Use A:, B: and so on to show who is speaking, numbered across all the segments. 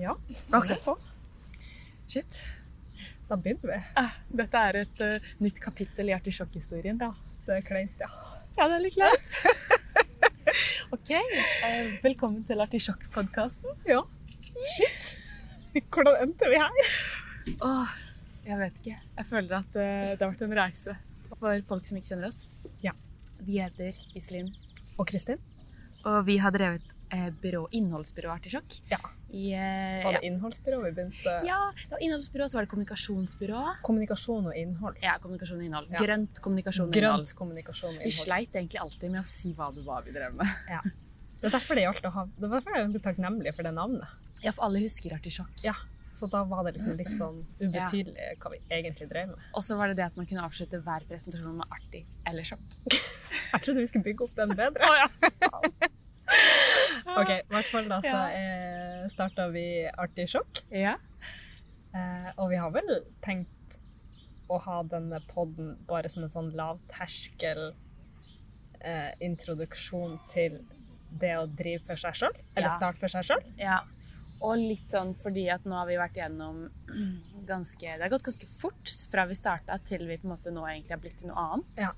A: Ja.
B: Ok.
A: det er på.
B: Shit.
A: Da begynner vi.
B: Ah, Dette er et eh, nytt kapittel i Artisjokk-historien.
A: Ja, Det er kleint, ja.
B: Ja, det er litt klart. ok. eh, velkommen til Artisjokk-podkasten.
A: Ja. Shit! Hvordan endte vi her?
B: Åh, jeg vet ikke. Jeg føler at eh, det har vært en reise for folk som ikke kjenner oss.
A: Ja.
B: Vi heter Iselin,
A: Og Kristin?
B: og vi har drevet eh, byrå, innholdsbyrå Artisjokk.
A: Ja.
B: I, eh,
A: Var
B: ja.
A: det innholdsbyrå vi begynte?
B: ja, det var innholdsbyrå, så var det kommunikasjonsbyrå.
A: Kommunikasjon og innhold.
B: Ja, kommunikasjon og innhold.
A: Ja.
B: Grønt kommunikasjon og innhold.
A: Grønt kommunikasjon og
B: Vi
A: innhold.
B: sleit egentlig alltid med å si hva det var vi drev med.
A: Det er derfor det gjaldt å ha Det var derfor jeg er ganske takknemlig for det navnet.
B: Ja, for alle husker Artisjokk.
A: Så da var det liksom litt sånn ubetydelig hva vi egentlig drev med.
B: Og så var det det at man kunne avslutte hver presentasjon med artig eller sjokk.
A: Jeg trodde vi skulle bygge opp den bedre. OK, i hvert fall da så
B: Ja.
A: eh, starta vi Artig sjokk.
B: Ja.
A: Eh, og vi har vel tenkt å ha denne podden bare som en sånn lavterskel eh, introduksjon til det å drive for seg sjøl, eller
B: Ja.
A: starte for seg sjøl.
B: ja. Og litt sånn fordi at nå har vi vært gjennom ganske Det har gått ganske fort fra vi starta til vi på en måte nå egentlig har blitt til noe annet.
A: Ja.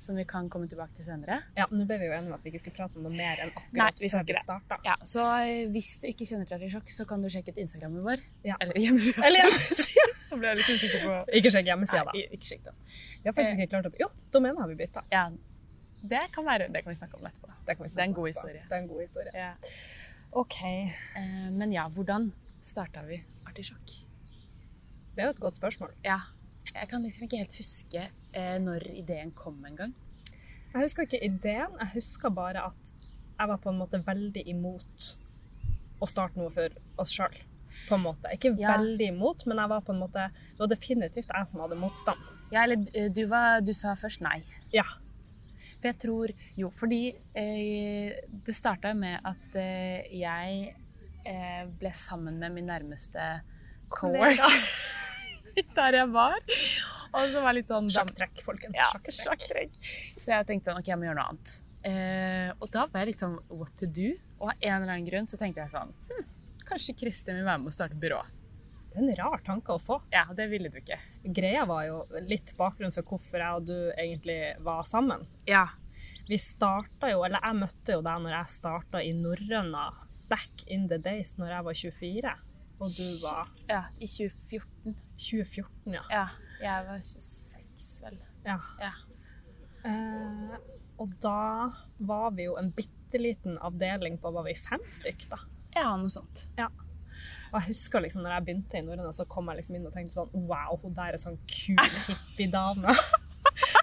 B: Som vi kan komme tilbake til senere.
A: Ja, nå ble vi jo enige om at vi ikke skulle prate om noe mer enn
B: Nei,
A: akkurat
B: vi skal
A: før vi
B: ikke
A: starta.
B: Ja, Så eh, hvis du ikke kjenner til Artisjokk, så kan du sjekke ut Instagrammen vår.
A: Ja.
B: Eller hjemmesiden.
A: Eller hjemmesida.
B: Jeg ble litt usikker på
A: Ikke sjekk hjemmesida, da.
B: Nei, ikke sjekk den.
A: Vi har faktisk ikke klart å Jo, domenet har vi bytta.
B: Ja, det kan være, det kan vi snakke om etterpå.
A: Det, kan vi
B: Det er en
A: snakke om
B: god
A: etterpå.
B: historie.
A: Det er en god historie.
B: Ja.
A: OK.
B: Eh, Men ja, hvordan starta vi Artisjokk?
A: Det er jo et godt spørsmål.
B: Ja. Jeg kan liksom ikke helt huske eh, når ideen kom engang.
A: Jeg husker ikke ideen, jeg husker bare at jeg var på en måte veldig imot å starte noe for oss sjøl. På en måte. Ikke
B: Ja.
A: veldig imot, men jeg var på en måte, det var definitivt jeg som hadde motstand.
B: Ja, eller eh, du, var, du sa først nei.
A: Ja.
B: For jeg tror Jo, fordi eh, det starta med at eh, jeg eh, ble sammen med min nærmeste co-work der jeg var. Og så var jeg litt sånn
A: Sjakktrekk, folkens.
B: Ja,
A: Sjakktrekk.
B: sjakktrekk. Så jeg tenkte sånn, ok, jeg må gjøre noe annet. Eh, og da var jeg litt sånn, what to do? Og av en eller annen grunn så tenkte jeg sånn, hm, kanskje Kristin vil være med og starte byrå.
A: Det er en rar tanke å få.
B: Ja, det ville du ikke.
A: Greia var jo litt bakgrunn for hvorfor jeg og du egentlig var sammen.
B: Ja.
A: Vi starta jo, eller jeg møtte jo deg når jeg starta i Norrøna back in the days når jeg var 24, og du var
B: Ja, i 2014.
A: 2014, ja.
B: Ja, jeg var 26 vel.
A: Ja.
B: Ja.
A: Eh, og da var vi jo en bitte liten avdeling på var vi fem stykk, da.
B: Ja, noe sånt.
A: Og jeg husker liksom når jeg begynte i Norden, så kom jeg liksom inn og tenkte sånn Wow, hun der er sånn kul hippiedame.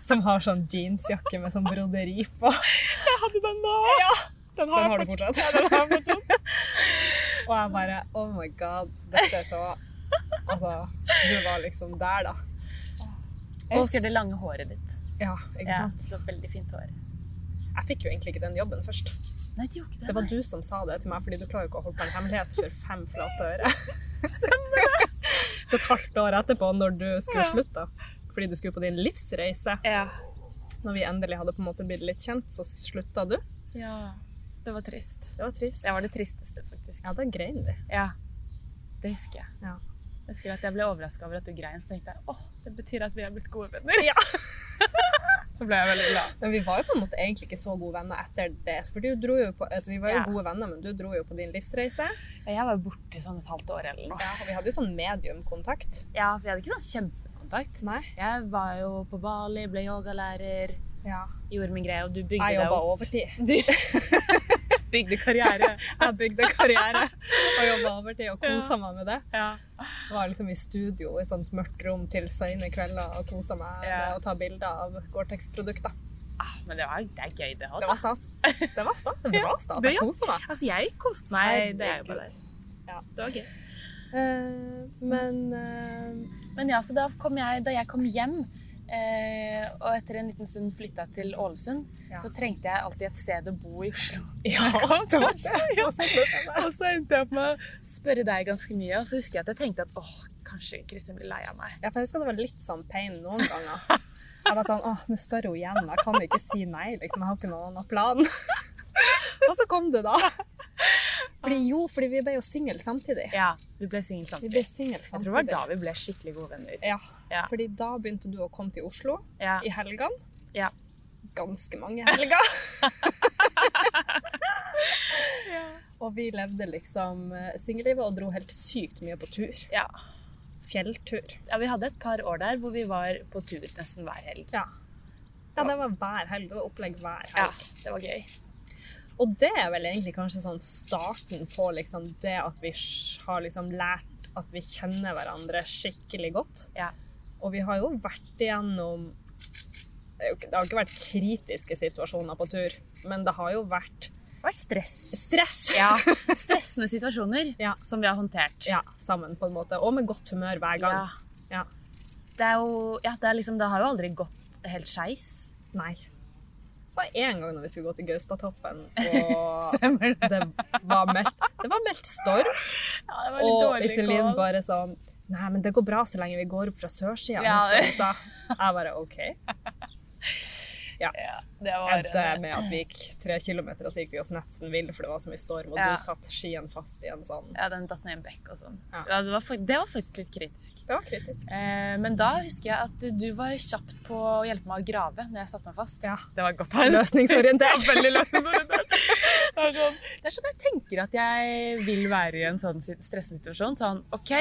A: Som har sånn jeansjakke med sånn broderi på.
B: Jeg hadde den da! Ja, den
A: Den har
B: har,
A: du fortsatt.
B: jeg fortsatt.
A: Og jeg bare Oh my god, dette er så Altså, du var liksom der, da.
B: Jeg husker det lange håret ditt.
A: Ja, ikke
B: Ja,
A: sant.
B: det var veldig fint hår.
A: Jeg fikk jo egentlig ikke den jobben først.
B: Nei, det gjorde ikke det.
A: Det var
B: nei.
A: du som sa det til meg, fordi du klarer jo ikke å holde på en hemmelighet for fem flate øre. Så et halvt år etterpå, når du skulle
B: Ja.
A: slutte, fordi du skulle på din livsreise,
B: Ja.
A: når vi endelig hadde på en måte blitt litt kjent, så slutta du.
B: ja, det var trist.
A: Det var trist.
B: Det var det tristeste, faktisk.
A: Ja, da grein vi.
B: Ja, det husker jeg.
A: Ja.
B: Jeg husker at jeg ble overraska over at du grein, så tenkte jeg åh, det betyr at vi er blitt gode venner.
A: Ja.
B: så ble jeg veldig glad.
A: Men vi var jo på en måte egentlig ikke så gode venner etter det. For du dro jo på, altså vi var jo
B: Ja.
A: gode venner, men du dro jo på din livsreise.
B: Jeg var borte sånn et halvt år eller noe.
A: Ja, og vi hadde jo sånn mediumkontakt.
B: Ja, Vi hadde ikke sånn kjempekontakt.
A: Nei.
B: Jeg var jo på Bali, ble yogalærer,
A: Ja.
B: gjorde min greie, og du bygde
A: Jeg
B: deg
A: jobba
B: opp.
A: overtid.
B: Du bygde karriere.
A: Jeg bygde karriere og jobba overtid og
B: Ja.
A: kosa meg med det.
B: Ja.
A: var liksom i studio i et sånt mørkt rom til sene kvelder og kosa meg
B: Ja.
A: med å ta bilder av Gore-Tex-produkter.
B: Ah, men det, var, det er gøy, det òg.
A: Det var stas. Det var stas. Det
B: Ja,
A: var stas.
B: det
A: Jeg
B: gjør-
A: kosa meg.
B: Altså, jeg koste meg. Det er jo bare det.
A: Ja.
B: Det var gøy.
A: Eh, men eh,
B: Men ja, så da, kom jeg, da jeg kom hjem, eh, og etter en liten stund flytta til Ålesund,
A: Ja.
B: så trengte jeg alltid et sted å bo i Oslo.
A: ja, det var det. Det var så flott av meg.
B: Og så endte jeg opp med å spørre deg ganske mye, og så husker jeg at jeg tenkte at åh, kanskje Kristin blir lei av meg.
A: Ja, for jeg husker det var litt sånn pain noen ganger. Jeg var sånn åh, nå spør hun igjen. Jeg kan ikke si nei, liksom. Jeg har ikke noen annen plan. Og så kom du, da. Fordi jo, fordi vi ble jo single samtidig.
B: Ja, vi ble single
A: Vi ble
B: samtidig.
A: single
B: Jeg
A: samtidig.
B: tror det var da vi ble skikkelig gode venner.
A: Ja.
B: Ja.
A: Fordi da begynte du å komme til Oslo
B: Ja.
A: i helgene.
B: Ja.
A: Ganske mange helger. Og vi levde liksom eh, singellivet og dro helt sykt mye på tur.
B: Ja.
A: Fjelltur.
B: ja, vi hadde et par år der hvor vi var på tur nesten hver helg.
A: Ja. Ja, det var hver helg. Det var opplegg hver helg.
B: Ja, det var gøy.
A: Og det er vel egentlig kanskje sånn starten på liksom det at vi sj- har liksom lært at vi kjenner hverandre skikkelig godt.
B: Ja.
A: Og vi har jo vært igjennom det er jo ikke- det har ikke vært kritiske situasjoner på tur, men det har jo vært
B: Det var stress.
A: stress
B: Ja, stressende situasjoner
A: Ja.
B: som vi har håndtert.
A: Ja, sammen, på en måte. Og med godt humør hver gang.
B: Ja.
A: Ja.
B: Det er jo ja, det, er liksom, det har jo aldri gått helt skeis.
A: Nei. Det var én gang når vi skulle gå til Gaustatoppen, og
B: Stemmer
A: det var meldt, det var meldt storm.
B: Ja, det
A: Og Iselin bare sånn Nei, men det går bra så lenge vi går opp fra sørsida.
B: Ja,
A: neste år», sa Jeg bare OK.
B: Ja, det var
A: Endte med at vi gikk tre kilometer, og så gikk vi oss nesten vill, for det var så mye storm, og
B: Ja.
A: du satt skien fast i en sånn
B: Ja, den datt ned i en bekk og sånn.
A: Ja.
B: Ja, det, var fak- det var faktisk litt kritisk.
A: Det var kritisk.
B: Eh, men da husker jeg at du var kjapt på å hjelpe meg å grave når jeg satte meg fast. sånn,
A: Ja.
B: Det var godt
A: Løsningsorientert.
B: Veldig løsningsorientert. Det er, sånn, det er sånn jeg tenker at jeg vil være i en sånn sit- stressituasjon. Sånn OK,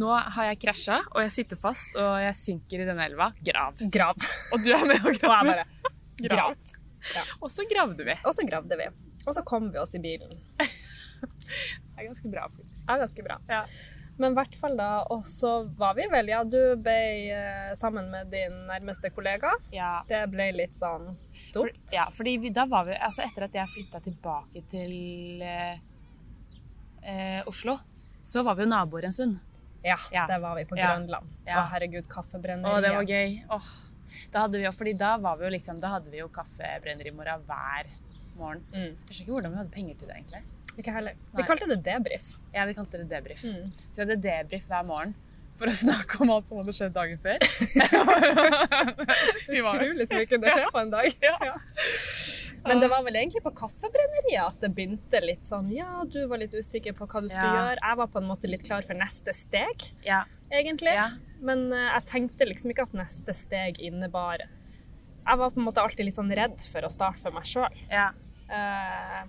B: nå har jeg krasja, og jeg sitter fast, og jeg synker i denne elva. Grav.
A: Grav.
B: Og du er med og
A: Og jeg
B: graver.
A: bare Grav.
B: Og så gravde vi.
A: Og så gravde vi. Og så kom vi oss i bilen.
B: Det er ganske bra, faktisk.
A: Det er ganske bra.
B: Ja.
A: Men i hvert fall da, og så var vi vel Ja, du ble eh, sammen med din nærmeste kollega.
B: Ja.
A: Det ble litt sånn
B: For,
A: dumt.
B: ja, fordi vi, da var vi Altså, etter at jeg flytta tilbake til eh, eh, Oslo, så var vi jo naboer en stund.
A: Ja,
B: Ja.
A: der var vi på
B: Ja.
A: Grønland.
B: Ja.
A: Å, herregud, kaffebrenneriet.
B: Å, det var gøy. Åh. Da hadde vi jo, fordi da var vi jo liksom, da hadde vi jo kaffebrennerimora hver morgen.
A: Mm.
B: Jeg skjønner ikke hvordan vi hadde penger til det, egentlig.
A: Ikke heller.
B: Nei. Mm.
A: Vi kalte det debrief.
B: Ja, vi kalte det debrief. Så vi hadde debrief hver morgen for å snakke om alt som hadde skjedd dagen før. vi var
A: Utrolig så mye kunne skje på en dag. Ja. Men det var vel egentlig på kaffebrenneriet at det begynte litt sånn Ja, du var litt usikker på hva du skulle
B: Ja.
A: gjøre. Jeg var på en måte litt klar for neste steg,
B: Ja.
A: egentlig.
B: ja.
A: Men eh, jeg tenkte liksom ikke at neste steg innebar Jeg var på en måte alltid litt sånn redd for å starte for meg sjøl.
B: ja.
A: Eh,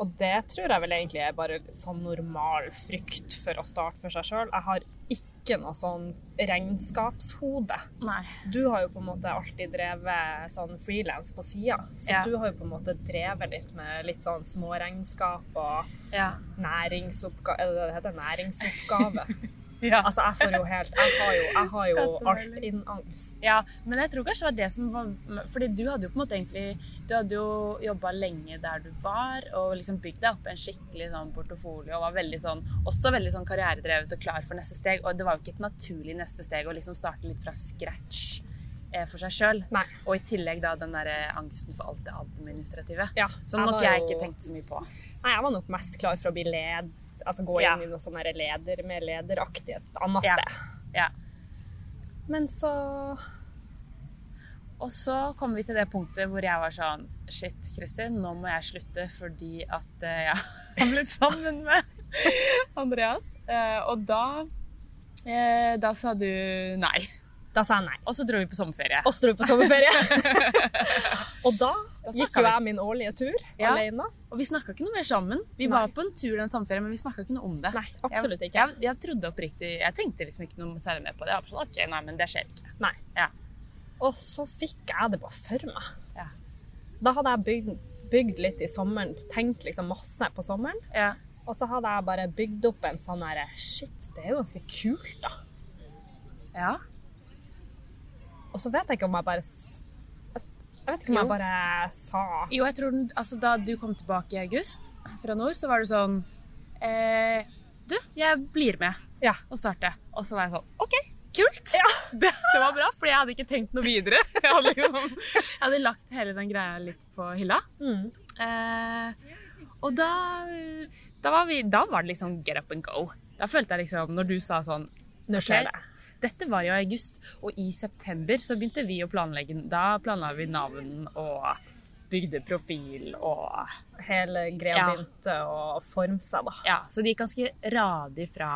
A: og det tror jeg vel egentlig er bare sånn normal frykt for å starte for seg sjøl. Jeg har ikke noe sånn regnskapshode.
B: Nei.
A: Du har jo på en måte alltid drevet sånn frilans på sida, så
B: Ja.
A: du har jo på en måte drevet litt med litt sånn småregnskap og
B: Ja.
A: næringsoppgave Er det det det heter? Næringsoppgave.
B: ja.
A: altså, jeg får jo helt Jeg har jo, jeg har jo
B: Skattemelding.
A: alt in angst.
B: Ja, men jeg tror kanskje det var det som var Fordi du hadde jo på en måte egentlig Du hadde jo jobba lenge der du var, og liksom bygd deg opp en skikkelig sånn portefolio og var veldig sånn Også veldig sånn karrieredrevet og klar for neste steg. Og det var jo ikke et naturlig neste steg å liksom starte litt fra scratch eh, for seg sjøl.
A: Nei.
B: Og i tillegg da den derre angsten for alt det administrative.
A: Ja,
B: Som
A: jeg
B: nok
A: var
B: jeg
A: jo-
B: ikke tenkte så mye på.
A: Nei, jeg var nok mest klar for å bli led, altså gå
B: Ja.
A: inn i noe sånn her leder med lederaktig et annet
B: Ja.
A: sted.
B: Ja.
A: Men så
B: Og så kom vi til det punktet hvor jeg var sånn Shit, Kristin, nå må jeg slutte fordi at eh, jeg har blitt sammen med Andreas. Eh, og da eh, Da sa du nei.
A: Da sa jeg nei.
B: Og så dro vi på sommerferie.
A: Og så dro vi på sommerferie. og da
B: Da
A: gikk
B: snakket
A: jo
B: vi.
A: jeg min årlige tur
B: Ja.
A: alene.
B: Og vi snakka ikke noe mer sammen. Vi
A: Nei.
B: var på en tur den sommerferien, men vi snakka ikke noe om det.
A: Nei, absolutt ikke.
B: Jeg, jeg trodde oppriktig Jeg tenkte liksom ikke noe særlig mer på det. Jeg var sånn, ok, nei, men det skjer ikke.
A: Nei.
B: Ja.
A: Og så fikk jeg det bare for meg.
B: Ja.
A: Da hadde jeg bygd, bygd litt i sommeren, tenkt liksom masse på sommeren.
B: Ja.
A: Og så hadde jeg bare bygd opp en sånn herre Shit, det er jo ganske kult, da.
B: ja.
A: Og så vet jeg ikke om jeg bare s- Jeg vet ikke om
B: Jo.
A: jeg bare sa
B: Jo, jeg tror den, altså, da du kom tilbake i august fra nord, så var det sånn eh, Du, jeg blir med
A: Ja.
B: og starter. Og så var jeg sånn OK, kult!
A: Ja.
B: Det, det var bra, fordi jeg hadde ikke tenkt noe videre. Jeg hadde, liksom, jeg hadde lagt hele den greia litt på hylla.
A: Mm.
B: Eh, og da, da, var vi, da var det liksom get up and go. Da følte jeg liksom, når du sa sånn
A: Nå skjer
B: Ok.
A: det.
B: Dette var jo i august, og i september så begynte vi å planlegge. Da planla vi navn og bygde profil og
A: Hele greia
B: Ja.
A: begynte å forme seg, da.
B: Ja, så det gikk ganske radig fra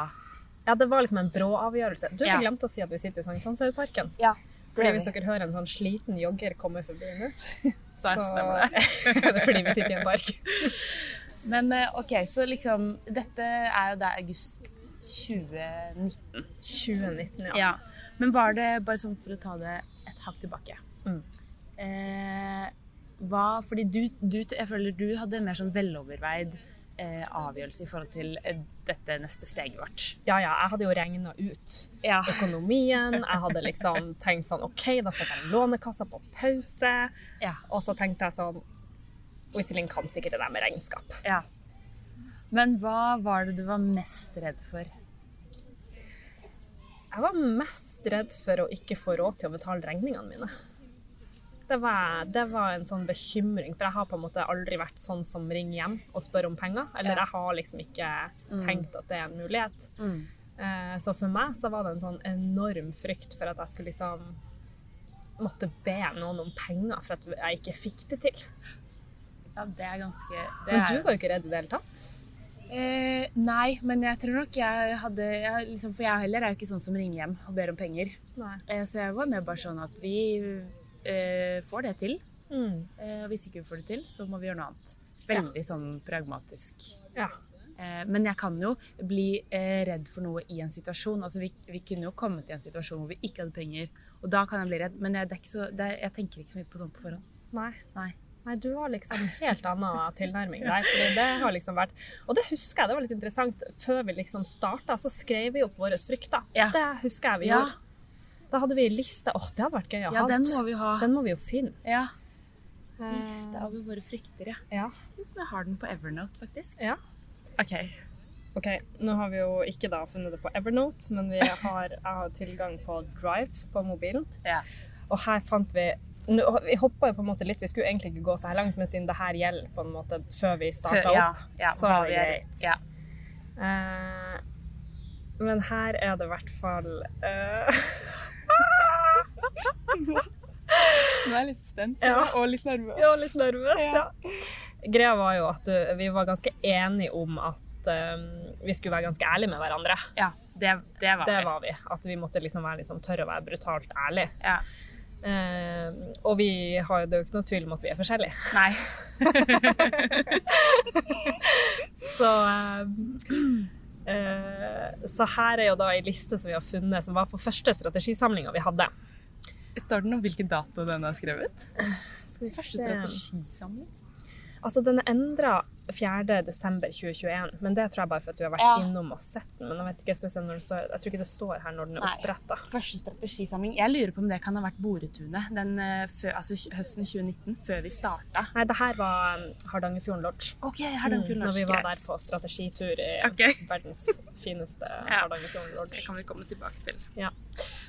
A: Ja, det var liksom en brå avgjørelse. Du,
B: Ja.
A: vi glemte å si at vi sitter i Sankthanshaugparken.
B: Ja.
A: Fordi hvis dere hører en sånn sliten jogger komme forbi nå,
B: Så er stemmer
A: det er fordi vi sitter i en park.
B: Men eh, OK, så liksom Dette er jo da august 2019.
A: 2019, ja.
B: Ja. Men var det, bare sånn for å ta det et hakk tilbake
A: Mm.
B: eh, hva, Fordi du, du, jeg føler du hadde en mer sånn veloverveid eh, avgjørelse i forhold til eh, dette neste steget vårt.
A: Ja, ja, jeg hadde jo regna ut
B: Ja.
A: økonomien. Jeg hadde liksom tenkt sånn OK, da setter jeg lånekassa på pause.
B: ja.
A: Og så tenkte jeg sånn Og Iselin kan sikkert det der med regnskap.
B: ja. Men hva var det du var mest redd for?
A: Jeg var mest redd for å ikke få råd til å betale regningene mine. Det var, det var en sånn bekymring, for jeg har på en måte aldri vært sånn som ringer hjem og spør om penger. Eller
B: Ja.
A: jeg har liksom ikke tenkt at det er en mulighet.
B: Mm.
A: Eh, Så for meg så var det en sånn enorm frykt for at jeg skulle liksom måtte be noen om penger for at jeg ikke fikk det til.
B: Ja, det er ganske det
A: Men
B: er-
A: du var jo ikke redd i det hele tatt.
B: Eh, nei, men jeg tror nok jeg hadde jeg, liksom, For jeg heller er jo ikke sånn som ringer hjem og ber om penger.
A: Nei.
B: Eh, så jeg var med bare sånn at vi eh, får det til.
A: Mm.
B: Eh, og hvis ikke vi får det til, så må vi gjøre noe annet. Veldig sånn pragmatisk.
A: Ja.
B: Eh, men jeg kan jo bli eh, redd for noe i en situasjon. Altså, vi, vi kunne jo kommet i en situasjon hvor vi ikke hadde penger, og da kan jeg bli redd. Men jeg, det er ikke så, det er, jeg tenker ikke så mye på sånt på forhånd.
A: Nei.
B: Nei.
A: Nei, du har liksom en helt annen tilnærming der. fordi det har liksom vært, Og det husker jeg, det var litt interessant. Før vi liksom starta, så skrev vi opp våre frykter.
B: Ja.
A: Det husker jeg vi
B: Ja.
A: gjorde. Da hadde vi ei liste. Åh, det hadde vært gøy å
B: Ja,
A: ha.
B: den må vi ha.
A: Den må vi jo finne.
B: Ja.
A: Eh,
B: Liste over våre frykter, ja.
A: ja.
B: Jeg har den på Evernote, faktisk.
A: Ja.
B: Ok.
A: OK, nå har vi jo ikke da funnet det på Evernote, men vi har, jeg har tilgang på Drive på mobilen.
B: Ja.
A: Og her fant vi nå, Vi hoppa jo på en måte litt, vi skulle egentlig ikke gå så her langt, men siden det her gjelder på en måte før vi starta opp,
B: ja, ja,
A: så
B: hva
A: er det
B: vi
A: greit.
B: Ja.
A: Eh, men her er det i hvert fall eh,
B: Nå er jeg litt spent
A: Ja.
B: og litt nervøs.
A: Jeg var litt nervøs, ja.
B: Ja.
A: Greia var jo at eh, vi var ganske enige om at eh, vi skulle være ganske ærlige med hverandre.
B: Ja, det, det var
A: Det var vi. At vi måtte liksom være liksom tørre å være brutalt ærlige.
B: Ja.
A: Eh, og vi har jo det er jo ikke noe tvil om at vi er forskjellige.
B: Nei.
A: Så, eh, eh, så her er jo da ei liste som vi har funnet, som var på første strategisamlinga vi hadde.
B: Står det noe om hvilken dato den er skrevet?
A: Skal vi
B: Første strategisamling?
A: Altså, den er endra 4. desember 2021, men det tror jeg bare for at du har vært
B: Ja.
A: innom og sett den. Men jeg vet ikke, jeg skal se når den står Jeg tror ikke det står her når den er
B: Nei.
A: oppretta.
B: Første strategisamling. Jeg lurer på om det kan ha vært Boretunet den, eh, før, altså, høsten 2019, før vi starta.
A: Nei, det her var um, Hardangerfjorden Lodge.
B: OK, jeg har den
A: Mm,
B: kulen.
A: Når vi var der på strategitur i
B: Ok.
A: verdens fineste Hardangerfjorden
B: Det
A: Lodge.
B: kan vi komme tilbake til.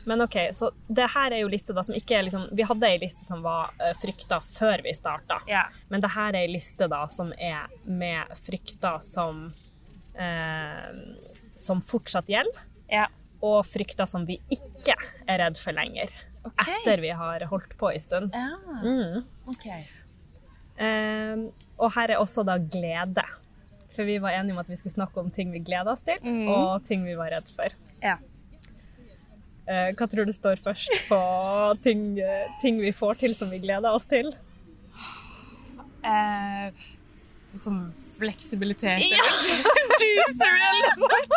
A: Men OK, så det her er jo liste da som ikke er liksom Vi hadde ei liste som var uh, frykta før vi starta.
B: Ja.
A: Men det her er ei liste da som er med frykter som eh, Som fortsatt gjelder.
B: ja.
A: og frykter som vi ikke er redd for lenger.
B: OK.
A: Etter vi har holdt på en stund.
B: Ja,
A: Mm.
B: Ah, OK.
A: Eh, og her er også da glede. For vi var enige om at vi skulle snakke om ting vi gleda oss til,
B: Mm.
A: og ting vi var redd for.
B: Ja.
A: Eh, hva tror du står først på ting, eh, ting vi får til som vi gleder oss til?
B: Eh, sånn fleksibilitet
A: Ja.
B: eller juicer eller noe sånt.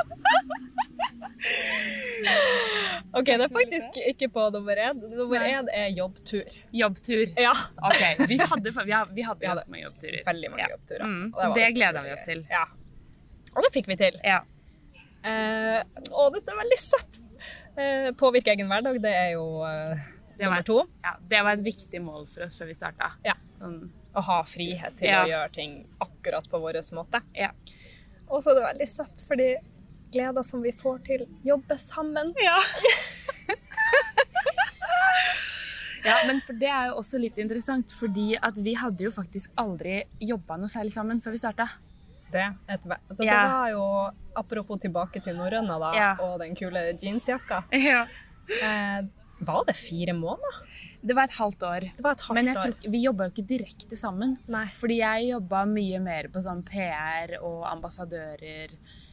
A: OK, det er faktisk ikke på nummer én. Nummer
B: Nei.
A: én er jobbtur.
B: Jobbtur.
A: Ja.
B: Ok, vi hadde, vi hadde, vi hadde
A: Ja,
B: ganske mange jobbturer.
A: Veldig mange
B: Ja.
A: jobbturer.
B: Mm,
A: Og
B: så
A: var
B: det
A: utrolig
B: gleder vi oss
A: gøy.
B: til.
A: Ja. Og det fikk vi til.
B: Ja.
A: Eh, og dette er veldig søtt. Eh, påvirke egen hverdag, det er jo eh,
B: Det var-
A: nummer to.
B: ja. Det var et viktig mål for oss før vi starta.
A: Ja.
B: Sånn,
A: Å ha frihet til
B: Ja.
A: å gjøre ting akkurat på vår måte.
B: ja.
A: Og så er det veldig søtt, fordi gleder som vi får til, jobbe sammen.
B: ja, men for det er jo også litt interessant, fordi at vi hadde jo faktisk aldri jobba noe særlig sammen før vi starta.
A: Det, er et, ve- så det
B: Ja.
A: var jo Apropos tilbake til norrøna da,
B: Ja.
A: og den kule jeansjakka.
B: Ja.
A: Eh, var det fire måneder?
B: Det var et halvt år.
A: Det var et halvt
B: Men jeg
A: år.
B: tror, ikke- vi jobba jo ikke direkte sammen.
A: Nei.
B: Fordi jeg jobba mye mer på sånn PR og ambassadører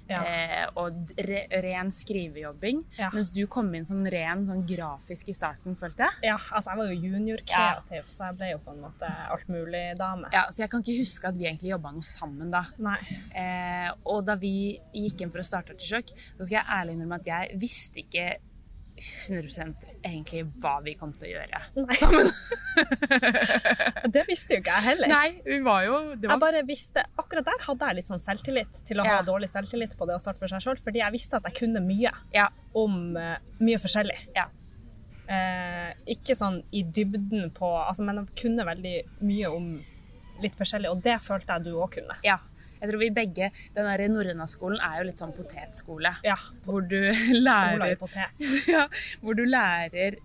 A: Ja.
B: eh, og d- re, ren skrivejobbing.
A: Ja.
B: Mens du kom inn som ren sånn grafisk i starten, følte jeg.
A: ja, altså jeg var jo junior-kreativ, så jeg ble jo på en måte altmulig-dame.
B: Ja, så jeg kan ikke huske at vi egentlig jobba noe sammen da.
A: Nei.
B: Eh, og da vi gikk inn for å starte Artisjokk, så skal jeg ærlig innrømme at jeg visste ikke 100 egentlig hva vi kom til å gjøre.
A: Nei.
B: Sammen.
A: Det visste jo ikke jeg heller.
B: Nei, vi var jo det
A: Jeg
B: var,
A: bare visste, Akkurat der hadde jeg litt sånn selvtillit til å ha
B: Ja.
A: dårlig selvtillit på det å starte for seg sjøl, fordi jeg visste at jeg kunne mye
B: Ja.
A: om eh, mye forskjellig.
B: Ja.
A: Eh, ikke sånn i dybden på altså, Men jeg kunne veldig mye om litt forskjellig, og det følte jeg du òg kunne.
B: ja. Jeg tror vi begge Den der Norrøna-skolen er jo litt sånn potetskole.
A: Ja.
B: Hvor du
A: Skoler i
B: lærer
A: potet.
B: ja, Hvor du lærer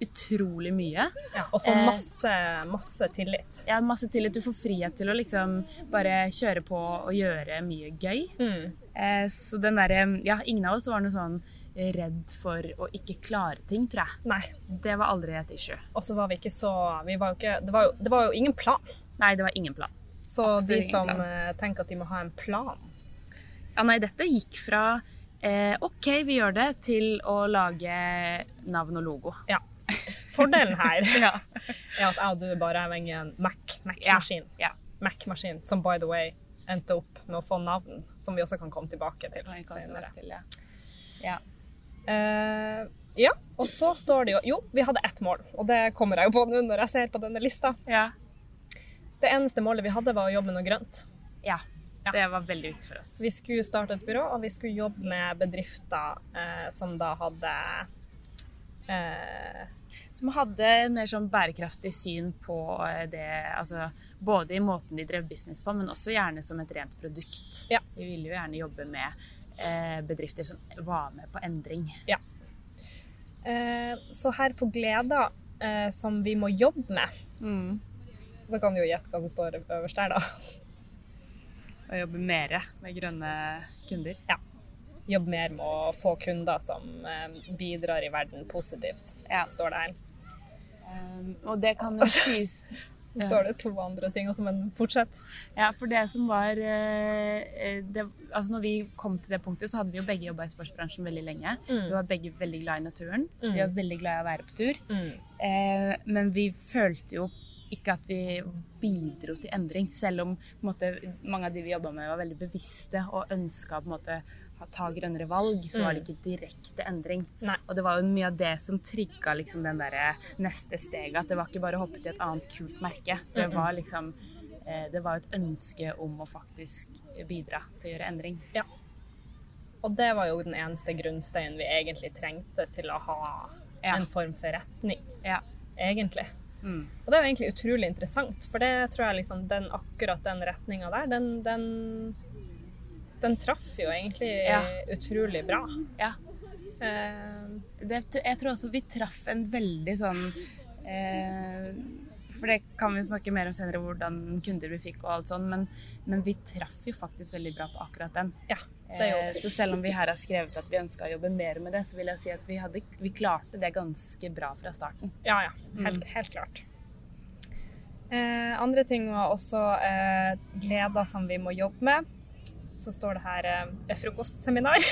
B: utrolig mye.
A: Ja, og få
B: Eh.
A: masse, masse tillit.
B: Jeg har masse tillit. Du får frihet til å liksom bare kjøre på og gjøre mye gøy.
A: Mm.
B: Eh, så den derre Ja, ingen av oss var noe sånn redd for å ikke klare ting, tror jeg.
A: Nei.
B: Det var aldri et issue.
A: Og så var vi ikke så vi var jo ikke, det, var jo, det var jo ingen plan.
B: Nei, det var ingen plan.
A: Så
B: Absolutt
A: de
B: ingen
A: som
B: plan.
A: eh, tenker at de må ha en plan
B: Ja, nei, dette gikk fra eh, OK, vi gjør det, til å lage navn og logo.
A: Fordelen her
B: Ja.
A: er at jeg og du bare er avhengig av en Mac- Mac-maskin.
B: Ja, ja.
A: Mac-maskin, som by the way endte opp med å få navn, som vi også kan komme tilbake til senere.
B: ja.
A: Eh, ja, og så står det jo Jo, vi hadde ett mål, og det kommer jeg jo på nå når jeg ser på denne lista.
B: Ja.
A: Det eneste målet vi hadde, var å jobbe med noe grønt.
B: ja.
A: Ja.
B: Det var veldig ut for oss.
A: Vi skulle starte et byrå, og vi skulle jobbe med bedrifter eh, som da hadde eh,
B: Som hadde en mer sånn bærekraftig syn på eh, det Altså både i måten de drev business på, men også gjerne som et rent produkt.
A: Ja.
B: Vi ville jo gjerne jobbe med eh, bedrifter som var med på endring.
A: eh, Så her på Gleda, eh, som vi må jobbe med
B: Mm.
A: Da kan du jo gjette hva som står øverst der, da.
B: Og jobbe mer med grønne kunder.
A: jobbe mer med å få kunder som eh, bidrar i verden positivt,
B: Ja.
A: står det her.
B: Ehm, og det kan jo sies
A: Så
B: Ja.
A: står det to andre ting også, men fortsett.
B: Ja, for det som var eh, eh, det, Altså når vi kom til det punktet, så hadde vi jo begge jobba i sportsbransjen veldig lenge. Vi var begge veldig glad i naturen.
A: Mm.
B: Vi var veldig glad i å være på tur.
A: Mm.
B: Eh, men vi følte jo ikke at vi bidro til endring, selv om på en måte, mange av de vi jobba med, var veldig bevisste og ønska å ta grønnere valg, så var det ikke direkte endring.
A: Mm. Nei.
B: Og det var jo mye av det som trigga liksom, den derre neste steget, at det var ikke bare å hoppe til et annet kult merke. Det
A: Mm-mm.
B: var liksom eh, det var et ønske om å faktisk bidra til å gjøre endring.
A: Og det var jo den eneste grunnsteinen vi egentlig trengte til å ha
B: Ja.
A: en form for retning,
B: Ja.
A: egentlig.
B: Mm.
A: Og det er jo egentlig utrolig interessant, for det tror jeg liksom den, akkurat den retninga der, den, den, den traff jo egentlig
B: Ja.
A: utrolig bra.
B: Ja.
A: Eh,
B: det, jeg tror også vi traff en veldig sånn eh, For det kan vi snakke mer om senere, hvordan kunder vi fikk og alt sånn, men, men vi traff jo faktisk veldig bra på akkurat den. Eh,
A: ja, det gjorde vi.
B: så selv om vi her har skrevet at vi ønska å jobbe mer med det, så vil jeg si at vi, hadde, vi klarte det ganske bra fra starten.
A: Ja, ja. Helt,
B: Mm.
A: helt klart. Eh, andre ting var også eh, gleder som vi må jobbe med. Så står det her eh, et frokostseminar.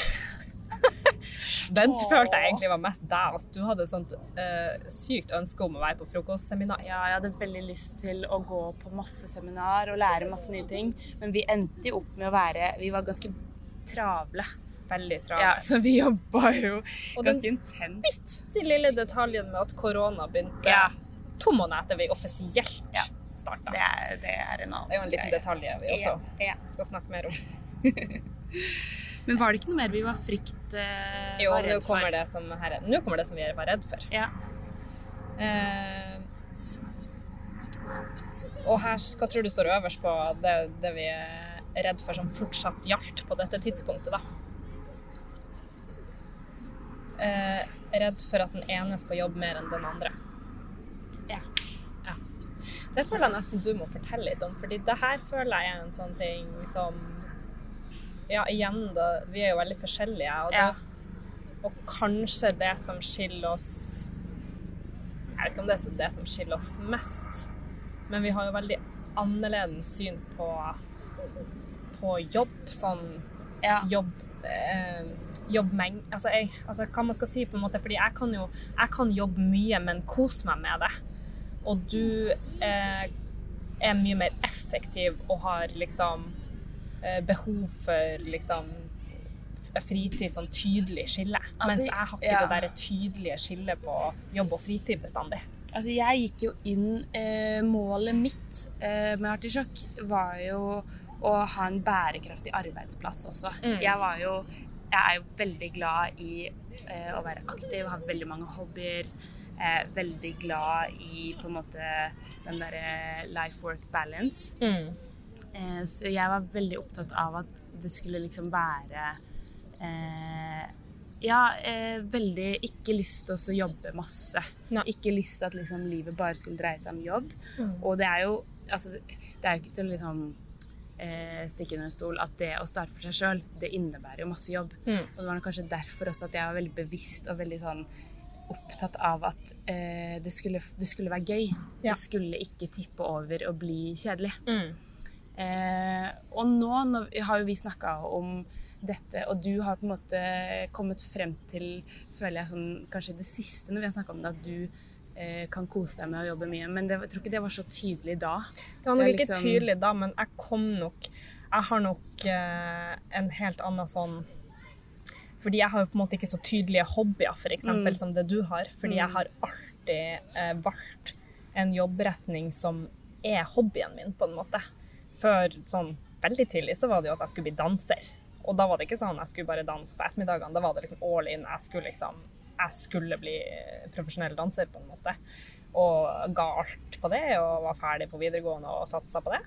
A: Den
B: Åh.
A: følte jeg egentlig var mest deg. Altså, du hadde et sånt eh, sykt ønske om å være på frokostseminar.
B: Ja, jeg hadde veldig lyst til å gå på masse seminar og lære masse nye ting, men vi endte jo opp med å være Vi var ganske travle.
A: Veldig
B: Ja,
A: travelt.
B: så vi jobba jo
A: Og den
B: ganske intenst.
A: bitte lille detaljen med at korona begynte
B: Ja.
A: to måneder etter vi offisielt
B: Ja.
A: starta.
B: Det er, det er en annen
A: Det er jo en liten
B: greie.
A: detalj vi også
B: Ja, ja.
A: skal snakke mer om.
B: Men var det ikke noe mer vi var frykt eh,
A: Jo,
B: var
A: nå
B: redd for?
A: kommer, det som her, nå kommer det som vi var redd for.
B: Ja.
A: Eh, og her, hva tror du står øverst på det, det vi er redd for som fortsatt gjaldt på dette tidspunktet, da? Eh, redd for at den ene skal jobbe mer enn den andre.
B: Ja.
A: Ja. Det føler jeg nesten du må fortelle litt om, fordi det her føler jeg er en sånn ting som Ja, igjen, da. Vi er jo veldig forskjellige, og,
B: Ja.
A: da, og kanskje det som skiller oss jeg vet snakke om det som det som skiller oss mest. Men vi har jo veldig annerledes syn på, på jobb, sånn
B: Ja.
A: jobb, eh, jobbmeng... Altså, jeg, altså hva man skal si på en måte, fordi jeg kan jo jeg kan jobbe mye, men kose meg med det. Og du eh, er mye mer effektiv og har liksom eh, behov for liksom f- fritid sånn tydelig skille. Mens
B: Altså,
A: jeg har ikke
B: ja.
A: det der tydelige skillet på jobb og fritid bestandig.
B: Altså, jeg gikk jo inn eh, Målet mitt eh, med Artisjokk var jo å ha en bærekraftig arbeidsplass også.
A: Mm.
B: Jeg var jo Jeg er jo veldig glad i eh, å være aktiv, har veldig mange hobbyer. Eh, veldig glad i på en måte den derre life work balance. Eh, så jeg var veldig opptatt av at det skulle liksom være eh, Ja, eh, veldig ikke lyst til å så jobbe masse.
A: Nei.
B: Ikke lyst til at liksom livet bare skulle dreie seg om jobb.
A: Mm.
B: Og det er jo altså, Det er jo ikke til å liksom eh, stikke under en stol at det å starte for seg sjøl, det innebærer jo masse jobb.
A: Mm.
B: Og det var nok kanskje derfor også at jeg var veldig bevisst og veldig sånn opptatt av at eh, det, skulle, det skulle være gøy.
A: Ja.
B: Det skulle ikke tippe over og bli kjedelig.
A: Mm.
B: Eh, og nå når, har jo vi snakka om dette, og du har på en måte kommet frem til, føler jeg sånn kanskje i det siste når vi har snakka om det, at du eh, kan kose deg med å jobbe mye. Men det, jeg tror ikke det var så tydelig da.
A: Det var nok
B: Det er
A: ikke
B: liksom-
A: tydelig da, men jeg kom nok Jeg har nok eh, en helt annen sånn Fordi jeg har jo på en måte ikke så tydelige hobbyer, f.eks.,
B: Mm.
A: som det du har. Fordi jeg
B: Mm.
A: har alltid eh, valgt en jobbretning som er hobbyen min, på en måte. Før sånn veldig tidlig så var det jo at jeg skulle bli danser. Og da var det ikke sånn jeg skulle bare danse på ettermiddagene. Da var det liksom all in. Jeg skulle liksom Jeg skulle bli profesjonell danser, på en måte og ga alt på det, og var ferdig på videregående og satsa på det.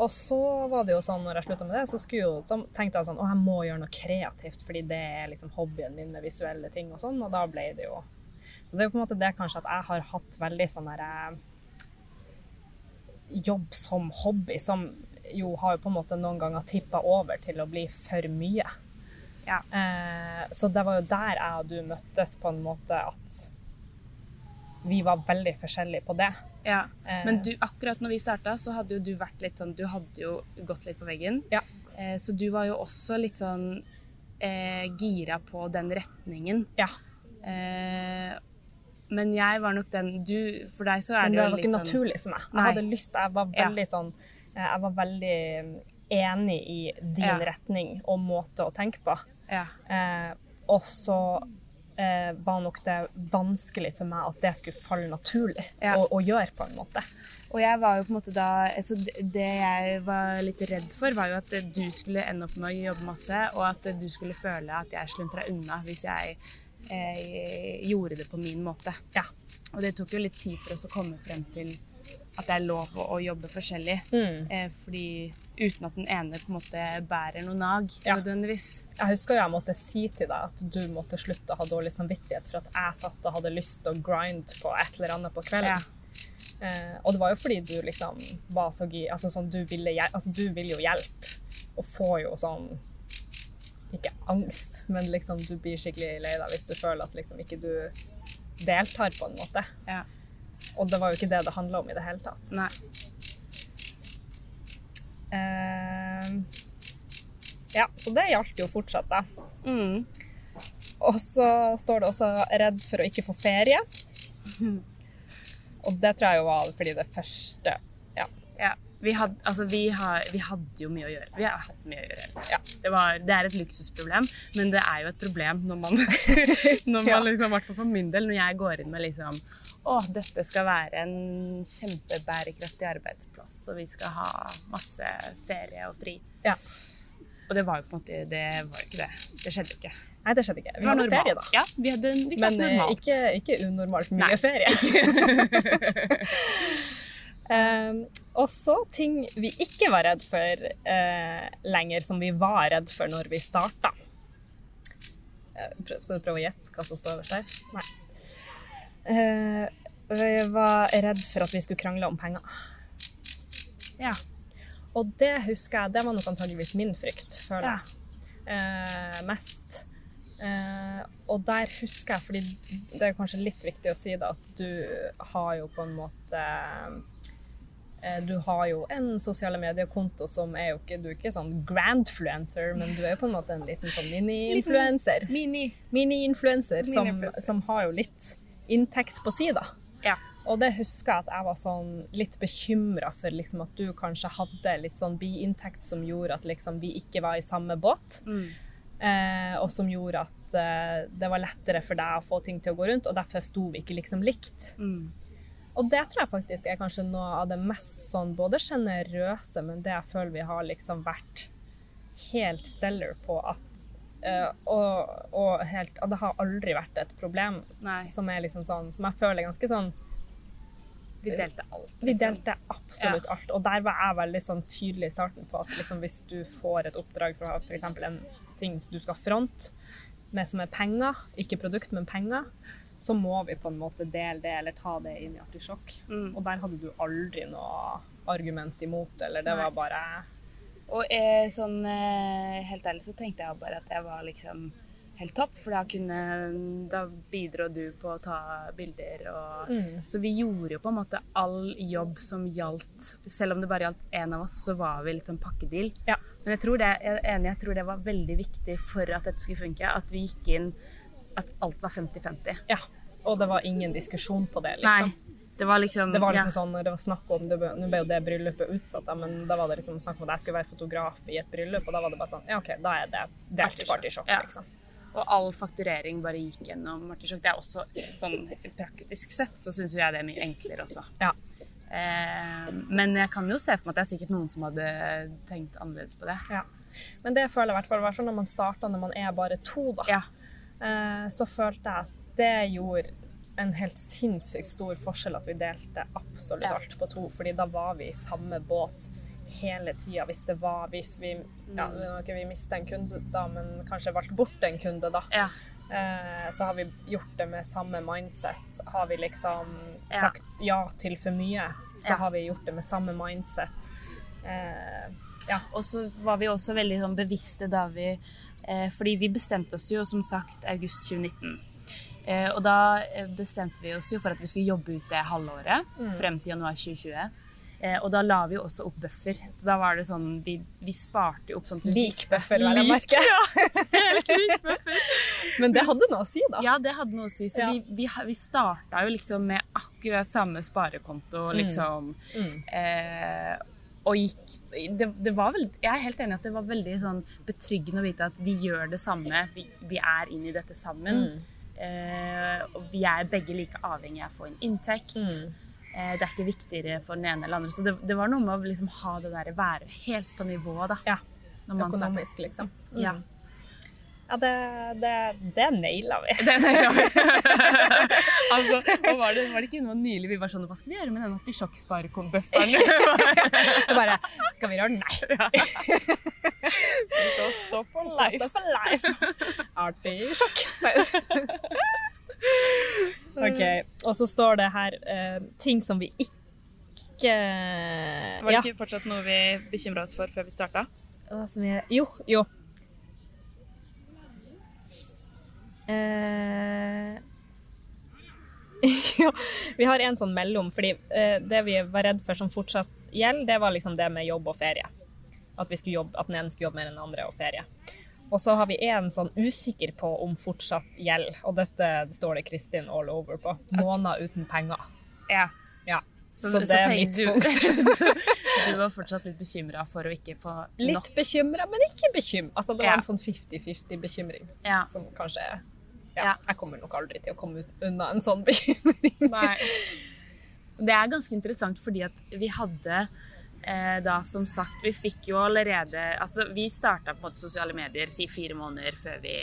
A: Og så var det jo sånn, når jeg slutta med det, så, skulle jo, så tenkte jeg sånn Å, jeg må gjøre noe kreativt, fordi det er liksom hobbyen min med visuelle ting og sånn, og da ble det jo Så det er jo på en måte det kanskje at jeg har hatt veldig sånn derre Jobb som hobby, som jo har jo på en måte noen ganger tippa over til å bli for mye.
B: Ja.
A: Eh, så det var jo der jeg og du møttes, på en måte at vi var veldig forskjellige på det.
B: Ja.
A: Eh,
B: Men du, akkurat når vi starta, så hadde jo du vært litt sånn Du hadde jo gått litt på veggen.
A: Ja.
B: Eh, så du var jo også litt sånn eh, gira på den retningen.
A: Ja.
B: Eh, men jeg var nok den du, For deg så er
A: men
B: det,
A: det
B: jo
A: var
B: litt
A: ikke
B: sånn
A: naturlig for meg. Jeg
B: Nei.
A: hadde lyst, jeg var
B: Ja.
A: veldig sånn eh, Jeg var veldig eh, enig i din
B: Ja.
A: retning og måte å tenke på.
B: Ja.
A: Eh, og så eh, var nok det vanskelig for meg at det skulle falle naturlig
B: Ja.
A: å, å gjøre, på en måte.
B: Og jeg var jo på en måte da altså det- Det jeg var litt redd for, var jo at du skulle ende opp med å jobbe masse, og at du skulle føle at jeg sluntra unna hvis jeg eh, gjorde det på min måte.
A: Ja.
B: Og det tok jo litt tid for oss å komme frem til at det er lov å, å jobbe forskjellig. Eh, fordi uten at den ene på en måte bærer noe nag,
A: Ja.
B: nødvendigvis.
A: Jeg husker jo jeg måtte si til deg at du måtte slutte å ha dårlig samvittighet for at jeg satt og hadde lyst til å grind på et eller annet på kvelden.
B: Ja.
A: Eh, og det var jo fordi du liksom var så gi... Altså sånn, du ville, hjel- altså, du vil jo hjelpe, og får jo sånn Ikke angst, men liksom du blir skikkelig lei deg hvis du føler at liksom ikke du deltar, på en måte.
B: Ja.
A: Og det var jo ikke det det handla om i det hele tatt.
B: Nei.
A: Eh, ja, så det gjaldt jo fortsatt, da.
B: Mm.
A: Og så står det også 'redd for å ikke få ferie'. Og det tror jeg jo var fordi det første Ja.
B: Ja. Vi, had, altså, vi, har, vi hadde jo mye å gjøre. Vi har hatt mye å gjøre. hele tiden.
A: Ja.
B: Det, var, det er et luksusproblem, men det er jo et problem når man, når man
A: Ja.
B: liksom, i hvert fall for min del, når jeg går inn med liksom Å, dette skal være en kjempebærekraftig arbeidsplass, og vi skal ha masse ferie og fri.
A: Ja.
B: Og det var jo på en måte Det var jo ikke det. Det skjedde jo ikke.
A: Nei, det skjedde ikke.
B: Det
A: Vi
B: var
A: hadde
B: normalt.
A: ferie, da.
B: Ja, vi hadde, vi
A: Men
B: hadde
A: eh,
B: normalt.
A: ikke, ikke unormalt mye
B: Nei.
A: ferie. Ehm, og så ting vi ikke var redd for eh, lenger, som vi var redd for når vi starta. Eh, prøv- skal du prøve å gjette hva som står øverst der? Nei. Eh, vi var redd for at vi skulle krangle om penger.
B: Ja.
A: Og det husker jeg, det var nok antageligvis min frykt, føler
B: Ja.
A: jeg. Eh, mest. Eh, og der husker jeg, fordi det er kanskje litt viktig å si da, at du har jo på en måte eh, Du har jo en sosiale mediekonto som er jo ikke Du er ikke sånn grandfluencer, men du er jo på en måte en liten sånn mini-influencer.
B: Mini.
A: Mini-influencer som,
B: Mini-influencer.
A: som har jo litt inntekt på si, da.
B: Ja.
A: Og det husker jeg at jeg var sånn litt bekymra for liksom at du kanskje hadde litt sånn biinntekt som gjorde at liksom vi ikke var i samme båt.
B: Mm,
A: Eh, og som gjorde at eh, det var lettere for deg å få ting til å gå rundt, og derfor sto vi ikke liksom likt.
B: mm,
A: Og det tror jeg faktisk er kanskje noe av det mest sånn både sjenerøse, men det jeg føler vi har liksom vært helt stellar på at eh, og, og helt at det har aldri vært et problem
B: Nei.
A: som er liksom sånn Som jeg føler er ganske sånn
B: Vi delte alt. liksom.
A: Vi delte absolutt alt. Og der var jeg veldig sånn tydelig i starten på at liksom hvis du får et oppdrag fra f.eks. en ting du skal fronte med som er penger, ikke produkt, men penger, så må vi på en måte dele det eller ta det inn i artisjokk.
B: Mm.
A: Og der hadde du aldri noe argument imot, eller det
B: Nei.
A: var bare
B: Og eh, sånn eh, helt ærlig så tenkte jeg bare at jeg var liksom helt topp, for da kunne Da bidro du på å ta bilder og
A: mm.
B: Så vi gjorde jo på en måte all jobb som gjaldt Selv om det bare gjaldt én av oss, så var vi litt sånn pakkedeal.
A: Ja.
B: Men jeg tror det, jeg er enig, jeg tror det var veldig viktig for at dette skulle funke, at vi gikk inn at alt var 50-50.
A: Ja. Og det var ingen diskusjon på det, liksom.
B: Nei. Det var liksom
A: Det var liksom
B: ja.
A: sånn, når det var snakk om, det ble, Nå ble jo det bryllupet utsatt, da, men da var det liksom snakk om at jeg skulle være fotograf i et bryllup, og da var det bare sånn Ja, OK, da er det delt
B: Partysjokk.
A: partysjokk,
B: Ja.
A: liksom.
B: Og all fakturering bare gikk gjennom Martinsjokk. Det er også sånn praktisk sett så syns jeg det er mye enklere også.
A: Ja.
B: Eh, men jeg kan jo se for meg at det er sikkert noen som hadde tenkt annerledes på det.
A: ja. Men det føler jeg i hvert fall var sånn når man starta når man er bare to, da.
B: Ja.
A: Eh, så følte jeg at det gjorde en helt sinnssykt stor forskjell at vi delte absolutt
B: Ja.
A: alt på to, fordi da var vi i samme båt hele tida hvis det var Hvis vi Ja,
B: Mm.
A: nå har ikke vi mista en kunde, da, men kanskje valgt bort en kunde, da.
B: Ja.
A: Eh, så har vi gjort det med samme mindset. Har vi liksom
B: Ja.
A: sagt ja til for mye, så
B: Ja.
A: har vi gjort det med samme mindset. Eh, ja.
B: Og så var vi også veldig sånn bevisste da vi eh, Fordi vi bestemte oss jo som sagt august 2019. Eh, og da eh, bestemte vi oss jo for at vi skulle jobbe ut det halvåret
A: Mm.
B: frem til januar 2020. Eh, og da la vi jo også opp buffer. Så da var det sånn Vi, vi sparte jo opp sånn at vi
A: Lik
B: visste-
A: bøffer, vel jeg
B: Lik,
A: merke.
B: helt lik buffer.
A: Men det hadde noe å si, da.
B: Ja, det hadde noe å si. Så
A: Ja.
B: vi, vi, ha- vi starta jo liksom med akkurat samme sparekonto, liksom.
A: Mm.
B: Eh, og gikk det, det var vel, Jeg er helt enig at det var veldig sånn betryggende å vite at vi gjør det samme. Vi, vi er inn i dette sammen.
A: Mm.
B: Eh, og vi er begge like avhengige av å få en inntekt.
A: Mm.
B: Eh, det er ikke viktigere for den ene eller andre. Så det, det var noe med å liksom ha det der være helt på nivået, da.
A: Ja.
B: Når man starter.
A: Økonomisk, liksom. Mm.
B: Ja.
A: Ja, det, det, det naila vi.
B: altså, og var, det, var det ikke noe nylig vi var sånn Hva skal vi gjøre med denne artisjokksparebufferen?
A: Og bare Skal vi røre? Nei.
B: Stå for
A: Life for life. Artig sjokk. OK. Og så står det her eh, ting som vi ikke
C: Var det
A: Ja.
C: ikke fortsatt noe vi bekymra oss for før vi starta?
A: Hva som er Jo, jo. Eh, ja, vi har en sånn mellom, fordi eh, det vi var redd for som fortsatt gjelder, det var liksom det med jobb og ferie. At, vi skulle jobbe, at den ene skulle jobbe mer enn den andre og ferie. Og så har vi en sånn usikker på om fortsatt gjelder, og dette står det Kristin all over på. Måneder uten penger.
B: Ja.
A: Ja.
B: Så,
A: Så
B: så,
A: det er
B: tenk-
A: mitt
B: du, punkt. du var fortsatt litt bekymra for å ikke få
A: Litt
B: nok.
A: bekymra, men ikke bekymra. Altså, det var
B: Ja.
A: en sånn 50-50-bekymring.
B: Ja.
A: som kanskje ja,
B: Ja.
A: Jeg kommer nok aldri til å komme ut unna en sånn bekymring.
B: Nei. Det er ganske interessant fordi at vi hadde eh, da som sagt Vi fikk jo allerede Altså vi starta på en måte sosiale medier si fire måneder før vi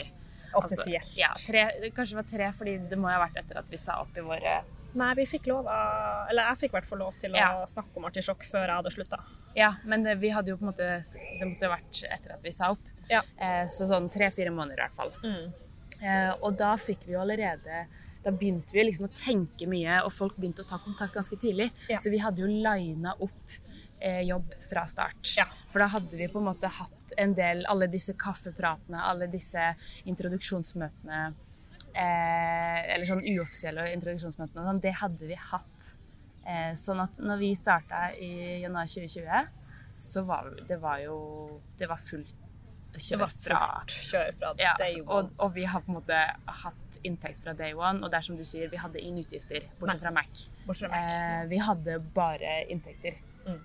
B: altså,
A: Offisielt.
B: Ja, tre, kanskje det var tre, fordi det må jo ha vært etter at vi sa opp i våre
A: Nei, vi fikk lov av Eller jeg fikk i hvert fall lov til å
B: Ja.
A: snakke om artisjokk før jeg hadde slutta.
B: Ja, men det, vi hadde jo på en måte Det måtte ha vært etter at vi sa opp.
A: Ja.
B: Eh, så sånn tre-fire måneder i hvert fall.
A: Mm.
B: Eh, og da fikk vi jo allerede Da begynte vi liksom å tenke mye, og folk begynte å ta kontakt ganske tidlig.
A: Ja.
B: Så vi hadde jo lina opp eh, jobb fra start.
A: Ja.
B: For da hadde vi på en måte hatt at en del, alle disse kaffepratene, alle disse introduksjonsmøtene eh, Eller sånn uoffisielle introduksjonsmøtene, og sånn, det hadde vi hatt. Eh, sånn at når vi starta i januar 2020, så var det var jo Det var fullt
A: Det
B: kjør
A: var
B: fra
A: fullt kjør fra
B: ja, altså,
A: day
B: og,
A: one.
B: og vi har på en måte hatt inntekt fra day one, og det er som du sier, vi hadde ingen utgifter, bortsett fra Mac.
A: Bortsett fra Mac.
B: Eh, vi hadde bare inntekter.
A: Mm.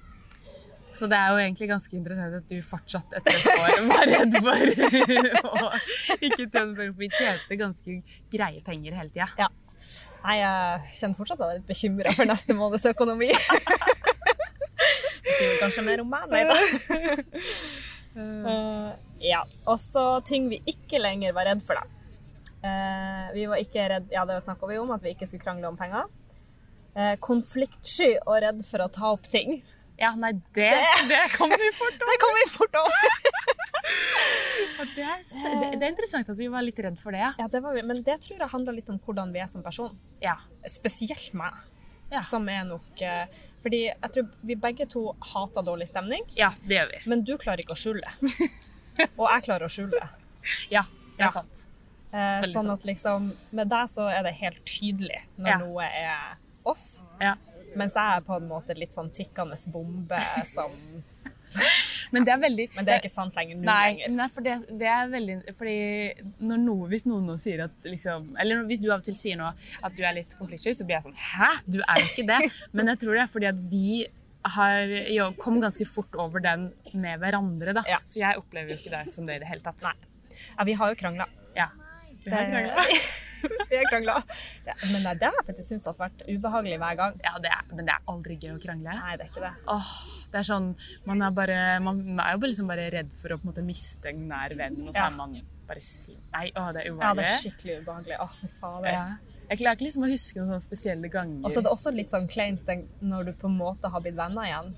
B: Så det er jo egentlig ganske interessant at du fortsatt etter et år var redd for å ikke tjene penger. for Vi tjente ganske greie penger hele tida.
A: Nei, jeg kjenner fortsatt at jeg er litt bekymra for neste måneds økonomi.
C: Det sier kanskje mer om meg, nei da.
A: Eh, ja. Og så ting vi ikke lenger var redd for, da. Eh, vi var ikke redd, ja, det snakka vi om, at vi ikke skulle krangle om penger. Eh, konfliktsky og redd for å ta opp ting.
B: Ja, nei, det, det kan vi fort
A: Det kom vi fort over!
B: og det, er st- det, det er interessant at vi var litt redd for det. ja.
A: Ja, det var vi. Men det tror jeg handler litt om hvordan vi er som person.
B: Ja.
A: Spesielt meg.
B: Ja.
A: Som er nok eh, Fordi jeg tror vi begge to hater dårlig stemning,
B: ja, det gjør vi.
A: men du klarer ikke å skjule det. Og jeg klarer å skjule det.
B: Ja, det
A: Ja.
B: er sant.
A: Eh,
B: Veldig
A: sånn
B: sant.
A: at liksom Med deg så er det helt tydelig når
B: Ja.
A: noe er off.
B: Ja.
A: Mens jeg er på en måte litt sånn tikkende bombe som
B: Men det er veldig
A: Men det er ikke sant lenger nå
B: Nei,
A: lenger.
B: nei for det, det er veldig Fordi når noe, hvis noen nå sier at liksom Eller når- hvis du av og til sier nå at du er litt konfliktsky, så blir jeg sånn Hæ? Du er jo ikke det. Men jeg tror det er fordi at vi har jo, kom ganske fort over den med hverandre, da.
A: Ja.
B: Så jeg opplever jo ikke det som det i det hele tatt.
A: Nei. Ja, vi har jo krangla.
B: Ja. Vi har kranglet.
A: Vi har krangla. Ja, men nei, det har jeg faktisk syntes har vært ubehagelig hver gang.
B: Ja, det er, men det er aldri gøy å krangle.
A: Nei, det er ikke det.
B: Åh, det er sånn, man er, bare, man er jo bare liksom bare redd for å på en måte miste en nær venn, og så
A: Ja.
B: er man bare sin... Nei, åh, det
A: Ja,
B: er
A: det
B: ubehagelig.
A: er skikkelig ubehagelig. Å, fy fader.
B: Ja. Jeg klarer ikke liksom å huske noen sånne spesielle ganger.
A: Og så er det også litt sånn kleint den- når du på en måte har blitt venner igjen.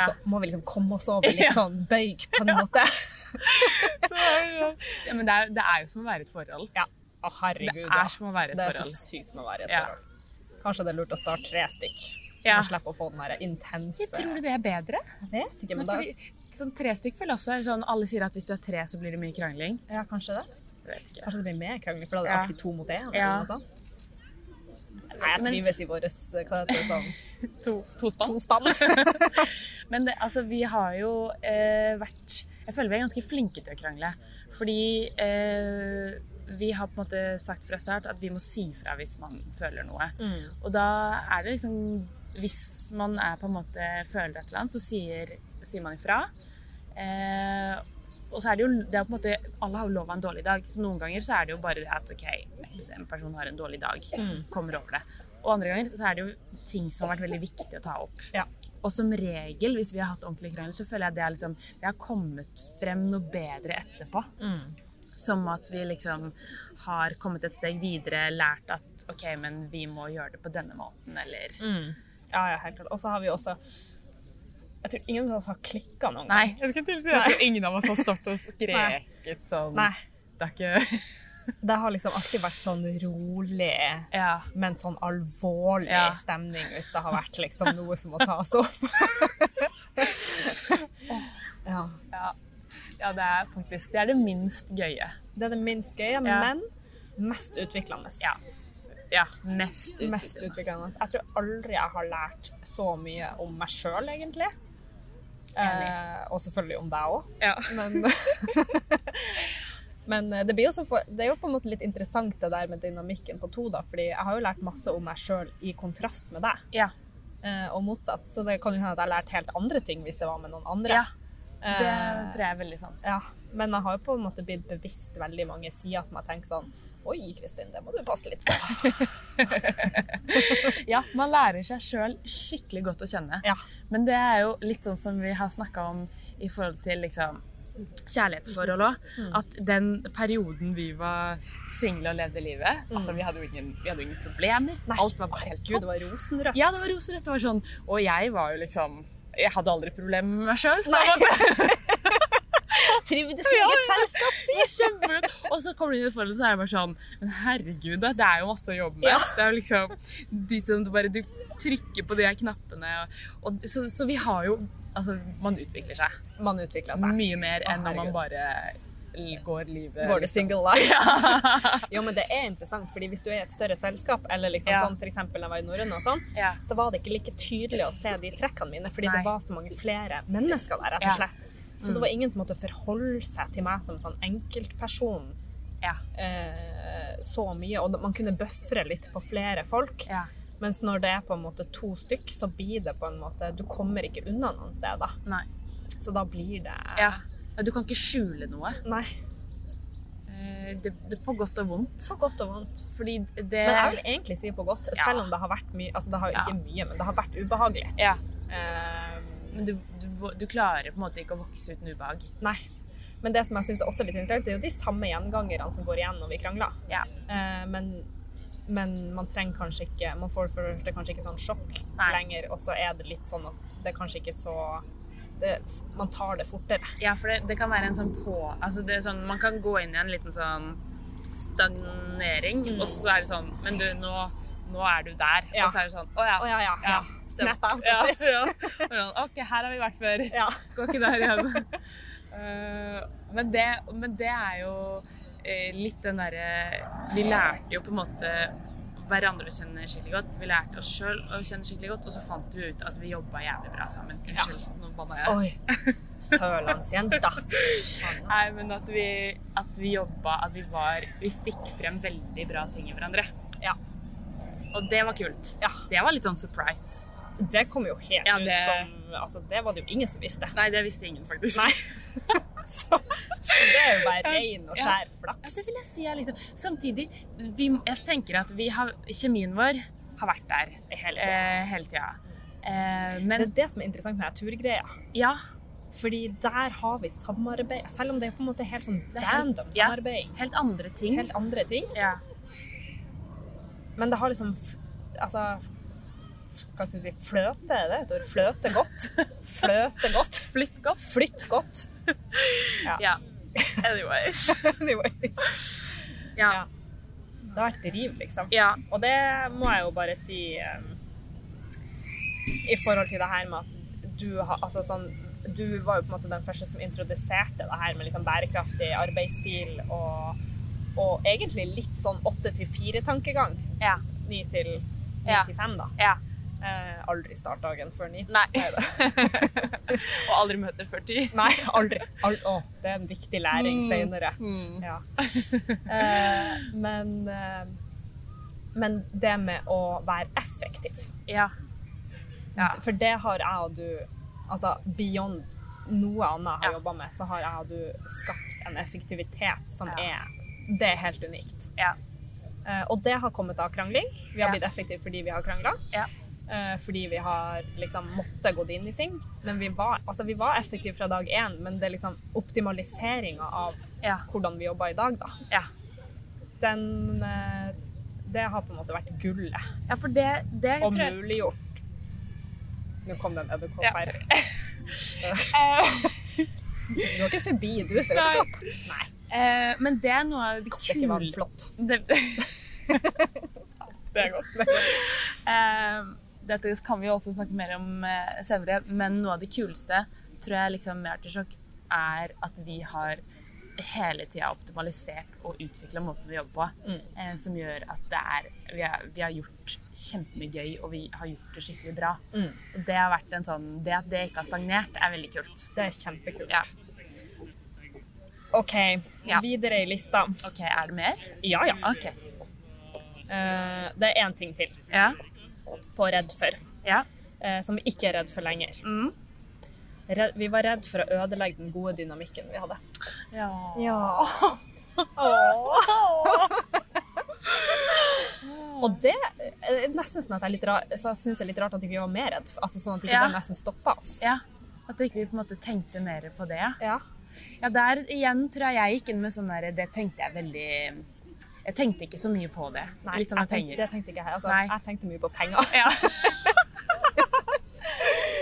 A: Og så må vi liksom komme oss over litt
B: Ja.
A: sånn bøyg, på en måte.
B: ja, men det er, det er jo som å være i et forhold.
A: Ja. Å, herregud.
B: Det
A: ja.
B: er som å være i et
A: Det er så
B: forhold.
A: sykt som å være i et
B: Ja.
A: forhold. Kanskje det er lurt å starte tre stykk, så
B: Ja.
A: man slipper å få den der intense
B: Jeg tror det er bedre.
A: Jeg vet ikke, men
B: Men
A: da
B: fordi, sånn tre stykk føler jeg også er sånn, alle sier at hvis du er tre, så blir det mye krangling.
A: Ja, kanskje det.
B: Jeg vet ikke.
A: Kanskje det blir mer krangling, for da er det
B: Ja.
A: alltid to mot én. eller
B: Ja.
A: noe sånt. Nei, jeg
B: Men-
A: trives i vår Hva heter det sånn
B: To, to spann.
A: tospann.
B: Men det, altså, vi har jo eh, vært Jeg føler vi er ganske flinke til å krangle. Fordi eh, vi har på en måte sagt fra start at vi må si fra hvis man føler noe.
A: Mm,
B: Og da er det liksom Hvis man er på en måte føler et eller annet, så sier, sier man ifra. Eh, og så er det jo det er på en måte, Alle har jo lov av en dårlig dag, så noen ganger så er det jo bare det at OK, en person har en dårlig dag.
A: Mm.
B: Kommer over det. Og andre ganger så er det jo ting som har vært veldig viktig å ta opp.
A: Ja.
B: Og som regel, hvis vi har hatt ordentlig krangel, så føler jeg det er liksom Det har kommet frem noe bedre etterpå.
A: mm,
B: Som at vi liksom har kommet et steg videre, lært at OK, men vi må gjøre det på denne måten, eller
A: mm. Ja, ja, helt klart. Og så har vi også Jeg tror ingen av oss har klikka noen gang.
B: Nei. Jeg skal til å si at ingen av oss har stått og skreket sånn.
A: Nei.
B: Det er ikke
A: Det har liksom alltid vært sånn rolig,
B: Ja.
A: men sånn alvorlig
B: Ja.
A: stemning hvis det har vært liksom noe som må tas opp. ja.
B: ja. Ja, det er faktisk Det er det minst gøye.
A: Det er det minst gøye,
B: Ja.
A: men mest utviklende.
B: Ja. Ja. Mest utviklende.
A: Mest utviklende. Jeg tror aldri jeg har lært så mye om meg sjøl, egentlig. Eh, og selvfølgelig om deg òg.
B: Ja.
A: Men, men eh, det, blir jo så for, det er jo på en måte litt interessant det der med dynamikken på to, da. Fordi jeg har jo lært masse om meg sjøl i kontrast med deg,
B: Ja.
A: eh, og motsatt. Så det kan jo hende at jeg har lært helt andre ting hvis det var med noen andre. Eh,
B: ja. Det tror jeg er veldig sant.
A: ja. Men jeg har jo på en måte blitt bevisst veldig mange sider som jeg tenker sånn Oi, Kristin, det må du passe litt på.
B: Ja, man lærer seg sjøl skikkelig godt å kjenne.
A: Ja.
B: Men det er jo litt sånn som vi har snakka om i forhold til liksom kjærlighetsforhold òg.
A: Mm.
B: At den perioden vi var single og levde livet altså vi hadde, jo ingen, vi hadde jo ingen problemer.
A: Mm. Nei.
B: Alt var bare helt
A: Gud, det
B: topp.
A: var rosenrødt.
B: Ja, det var rosenrødt. Det var sånn. Og jeg var jo liksom Jeg hadde aldri problemer med meg sjøl.
A: Nei. Trivdes i eget selskap, sier
B: Kjempegodt. Og så kommer du inn i et forhold, så er det bare sånn Men herregud, da. Det er jo masse å jobbe med.
A: Ja.
B: Det er jo liksom de som du bare Du trykker på de her knappene og, og så, så vi har jo Altså, man utvikler seg
A: Man utvikler seg.
B: mye mer
A: altså. Å,
B: enn når man
A: herregud.
B: bare l- går livet
A: Går det
B: liksom.
A: single life?
B: Ja.
A: Jo, men det er interessant, fordi hvis du er i et større selskap, eller liksom
B: Ja.
A: sånn for eksempel jeg var i Norrøn og sånn,
B: ja.
A: så var det ikke like tydelig å se de trekkene mine, fordi
B: Nei.
A: det var så mange flere mennesker der, rett
B: Ja.
A: og slett. Så
B: Mm.
A: det var ingen som måtte forholde seg til meg som sånn enkeltperson
B: Ja.
A: eh, så mye, og man kunne bøffre litt på flere folk.
B: Ja.
A: Mens når det er på en måte to stykk, så blir det på en måte Du kommer ikke unna noen steder.
B: Nei.
A: Så da blir det
B: Ja. Ja, Du kan ikke skjule noe.
A: Nei.
B: Eh, Det, det er på godt og vondt.
A: Så godt og vondt.
B: Fordi det
A: Men jeg vil egentlig si på godt,
B: Ja.
A: selv om det har vært mye Altså, det har jo ikke mye, men det har vært ubehagelig.
B: Ja.
A: Eh,
B: Men du, du, du klarer på en måte ikke å vokse uten ubehag.
A: nei. Men det som jeg synes er også litt interessant, det er jo de samme gjengangerne som går igjen når vi krangler.
B: Ja.
A: Eh, men, men man trenger kanskje ikke Man får for det første kanskje ikke sånn sjokk
B: Nei.
A: lenger, og så er det litt sånn at det er kanskje ikke så det, Man tar det fortere.
B: Ja, for det, det kan være en sånn på... Altså det er sånn, man kan gå inn i en liten sånn stagnering,
A: Mm.
B: og så er det sånn, men du, nå, nå er du der.
A: Ja.
B: Og så er det sånn, å ja.
A: Å ja, ja. ja.
B: Ja,
A: Snap out.
B: Ja, ja. Og sånn, ok, her har vi vært før.
A: Ja.
B: Går ikke der igjen. Eh, men, det, men det er jo eh, litt den derre Vi lærte jo på en måte hverandre å kjenne skikkelig godt. Vi lærte oss sjøl å kjenne skikkelig godt, og så fant vi ut at vi jobba jævlig bra sammen.
A: Ja.
B: Unnskyld, nå banna jeg.
A: Oi. Sørlandsjenta. Anna.
B: Nei, men at vi, at vi jobba, at vi var Vi fikk frem veldig bra ting i hverandre.
A: Ja.
B: Og det var kult.
A: Ja.
B: Det var litt sånn surprise.
A: Det kom jo helt
B: Ja, det-
A: ut som altså, Det var det jo ingen som visste.
B: Nei, det visste ingen, faktisk.
A: Nei. Så, så det er jo bare rein og
B: Ja.
A: skjær
B: Ja,
A: flaks.
B: det vil jeg si er liksom. Samtidig, vi, jeg tenker at vi har, kjemien vår har vært der
A: Helt, ja.
B: eh, hele tida. Eh,
A: Det
B: men
A: er det som er interessant med denne turgreia.
B: ja,
A: Fordi der har vi samarbeid, selv om det er på en måte helt sånn
B: Det er helt-
A: random
B: ja.
A: samarbeid.
B: helt andre ting.
A: Helt andre ting.
B: Ja.
A: Men det har liksom f- Altså f- Hva skal vi si? Fløte, er det et ord? Fløte godt. Fløte godt.
B: Flytt godt.
A: Flytt godt.
B: Ja. Anyways.
A: Anyways.
B: Ja.
A: Det har vært riv, liksom.
B: ja.
A: Og det må jeg jo bare si eh, i forhold til det her med at du har Altså sånn Du var jo på en måte den første som introduserte det her med liksom bærekraftig arbeidsstil og, og egentlig litt sånn åtte til fire-tankegang.
B: Ja.
A: Ni til ni
B: Ja.
A: til fem, da.
B: Ja.
A: Eh, aldri start dagen før ni.
B: Nei.
A: Neida.
B: Og aldri møte før ti.
A: Nei, aldri. Al å, det er en viktig læring
B: Mm.
A: senere.
B: Mm.
A: Ja. Eh, men, eh, men det med å være effektiv
B: Ja. Ja.
A: For det har jeg og du Altså beyond noe annet jeg har
B: Ja.
A: jobba med, så har jeg og du skapt en effektivitet som
B: Ja.
A: er Det er helt unikt.
B: Ja.
A: Eh, og det har kommet av krangling. Vi har
B: Ja.
A: blitt effektive fordi vi har krangla.
B: Ja.
A: Eh, fordi vi har liksom måttet gå inn i ting. Men vi var, altså, vi var effektive fra dag én, men det er liksom optimaliseringa av
B: Ja.
A: hvordan vi jobber i dag, da.
B: Ja.
A: Den eh, Det har på en måte vært gullet.
B: Ja, for det, det
A: Og
B: tror jeg
A: muliggjort Nå kom det en edderkopp
B: Ja,
A: her.
B: Eh,
A: Du går ikke forbi, du, for
B: Nei.
A: edderkopp.
B: eh, Men det er noe av
A: Det
B: det
A: er ikke vann
B: kule
A: flott.
B: Det, det er godt. Eh, dette kan vi jo også snakke mer om eh, senere, men noe av det kuleste tror jeg liksom med Artisjokk er at vi har hele tida optimalisert og utvikla måten vi jobber på,
A: Mm.
B: eh, som gjør at det er vi, er vi har gjort kjempemye gøy, og vi har gjort det skikkelig bra.
A: Mm.
B: Og det har vært en sånn Det at det ikke har stagnert, er veldig kult.
A: Det er kjempekult.
B: Ja.
A: OK,
B: Ja.
A: videre i lista.
B: OK, er det mer?
A: Ja, ja.
B: OK.
A: Eh, det er én ting til
B: Ja.
A: på redd for,
B: Ja.
A: eh, som vi ikke er redd for lenger.
B: Mm.
A: Redd, vi var redd for å ødelegge den gode dynamikken vi hadde.
B: ja.
A: Ja. Og det er nesten sånn at jeg, er litt rar, så jeg synes det er litt rart at ikke vi var mer redd. Altså sånn at ikke
B: Ja.
A: det nesten stoppa oss.
B: Ja. At ikke vi på en måte tenkte mer på det. ja.
A: Ja.
B: Ja, der igjen tror jeg jeg gikk inn med sånn der Det tenkte jeg veldig Jeg tenkte ikke så mye på det.
A: Nei,
B: Litt sånn
A: jeg
B: med
A: tenkte,
B: penger.
A: det tenkte ikke jeg. Altså,
B: Nei.
A: jeg tenkte mye på penger.
B: Ja.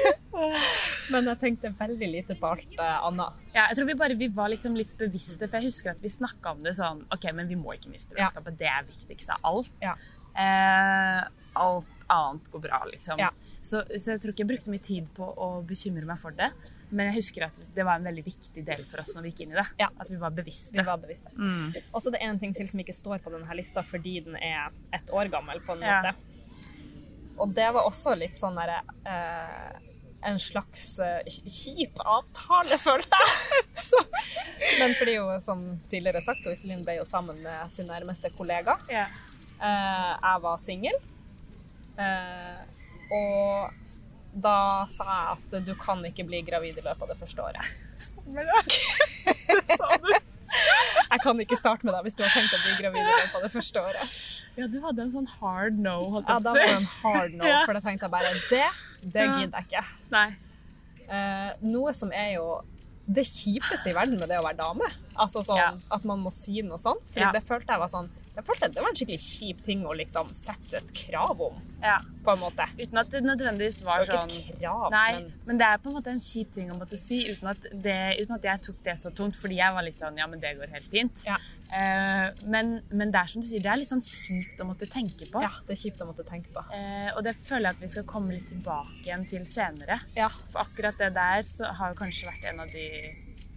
A: Men jeg tenkte veldig lite på alt eh, annet.
B: ja, jeg tror vi bare vi var liksom litt bevisste, for jeg husker at vi snakka om det sånn OK, men vi må ikke miste
A: Ja.
B: vennskapet. Det er viktigst av alt.
A: Ja.
B: Eh, alt annet går bra, liksom.
A: Ja.
B: Så, så jeg tror ikke jeg brukte mye tid på å bekymre meg for det. Men jeg husker at det var en veldig viktig del for oss når vi gikk inn i det.
A: Ja.
B: At vi var bevisste.
A: Vi var bevisste.
B: Mm.
A: Og så er det en ting til som ikke står på denne her lista fordi den er ett år gammel, på en
B: Ja.
A: måte. Og det var også litt sånn derre eh, En slags eh, kjip avtale, følte jeg. Så, men fordi jo, som tidligere sagt, og Iselin ble jo sammen med sin nærmeste kollega.
B: Ja.
A: Eh, jeg var singel. Eh, og da sa jeg at du kan ikke bli gravid i løpet av det første året.
B: Sa du?
A: Jeg kan ikke starte med deg hvis du har tenkt å bli gravid i løpet av det første året.
B: Ja, du hadde en sånn hard no, holdt
A: Ja,
B: jeg
A: da
B: på
A: var
B: å
A: det
B: si.
A: en hard no,
B: Ja.
A: for da tenkte jeg bare det, det
B: Ja.
A: gidder jeg ikke.
B: Nei.
A: Eh, noe som er jo det kjipeste i verden med det å være dame. Altså sånn
B: Ja.
A: at man må si noe sånn. For
B: Ja.
A: det følte jeg var sånn det, følte jeg, det var en skikkelig kjip ting å liksom sette et krav om,
B: Ja.
A: på en måte.
B: Uten at det nødvendigvis
A: Det
B: var
A: var ikke
B: sånn
A: et krav,
B: Nei,
A: men
B: men det er på en måte en kjip ting å måtte si uten at, det, uten at jeg tok det så tungt, fordi jeg var litt sånn Ja, men det går helt fint.
A: Ja.
B: Eh, men, men det er som du sier, det er litt sånn kjipt å måtte tenke på.
A: ja, det er kjipt å måtte tenke på.
B: Eh, og det føler jeg at vi skal komme litt tilbake igjen til senere.
A: Ja.
B: For akkurat det der så har jo kanskje vært en av de,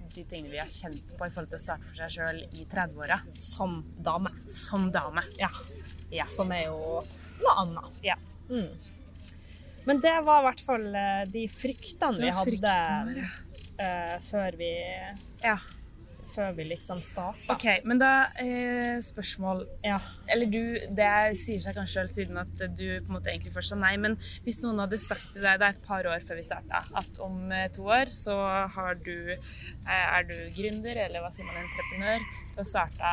B: de tingene vi har kjent på i forhold til å starte for seg sjøl i 30-åra.
A: Som dame.
B: Som dame.
A: Ja.
B: Ja.
A: Som er jo noe annet.
B: Ja.
A: Mm. Men det var i hvert fall eh, de fryktene vi
B: Det var
A: hadde
B: fryktene våre.
A: eh, før vi
B: Ja.
A: Før vi liksom starta.
B: OK, men da eh, spørsmål
A: Ja.
B: Eller du, det sier seg kanskje selv siden at du på en måte egentlig først sa nei, men hvis noen hadde sagt til deg, det er et par år før vi starta, at om eh, to år så har du, eh, er du gründer, eller hva sier man, entreprenør, du har starta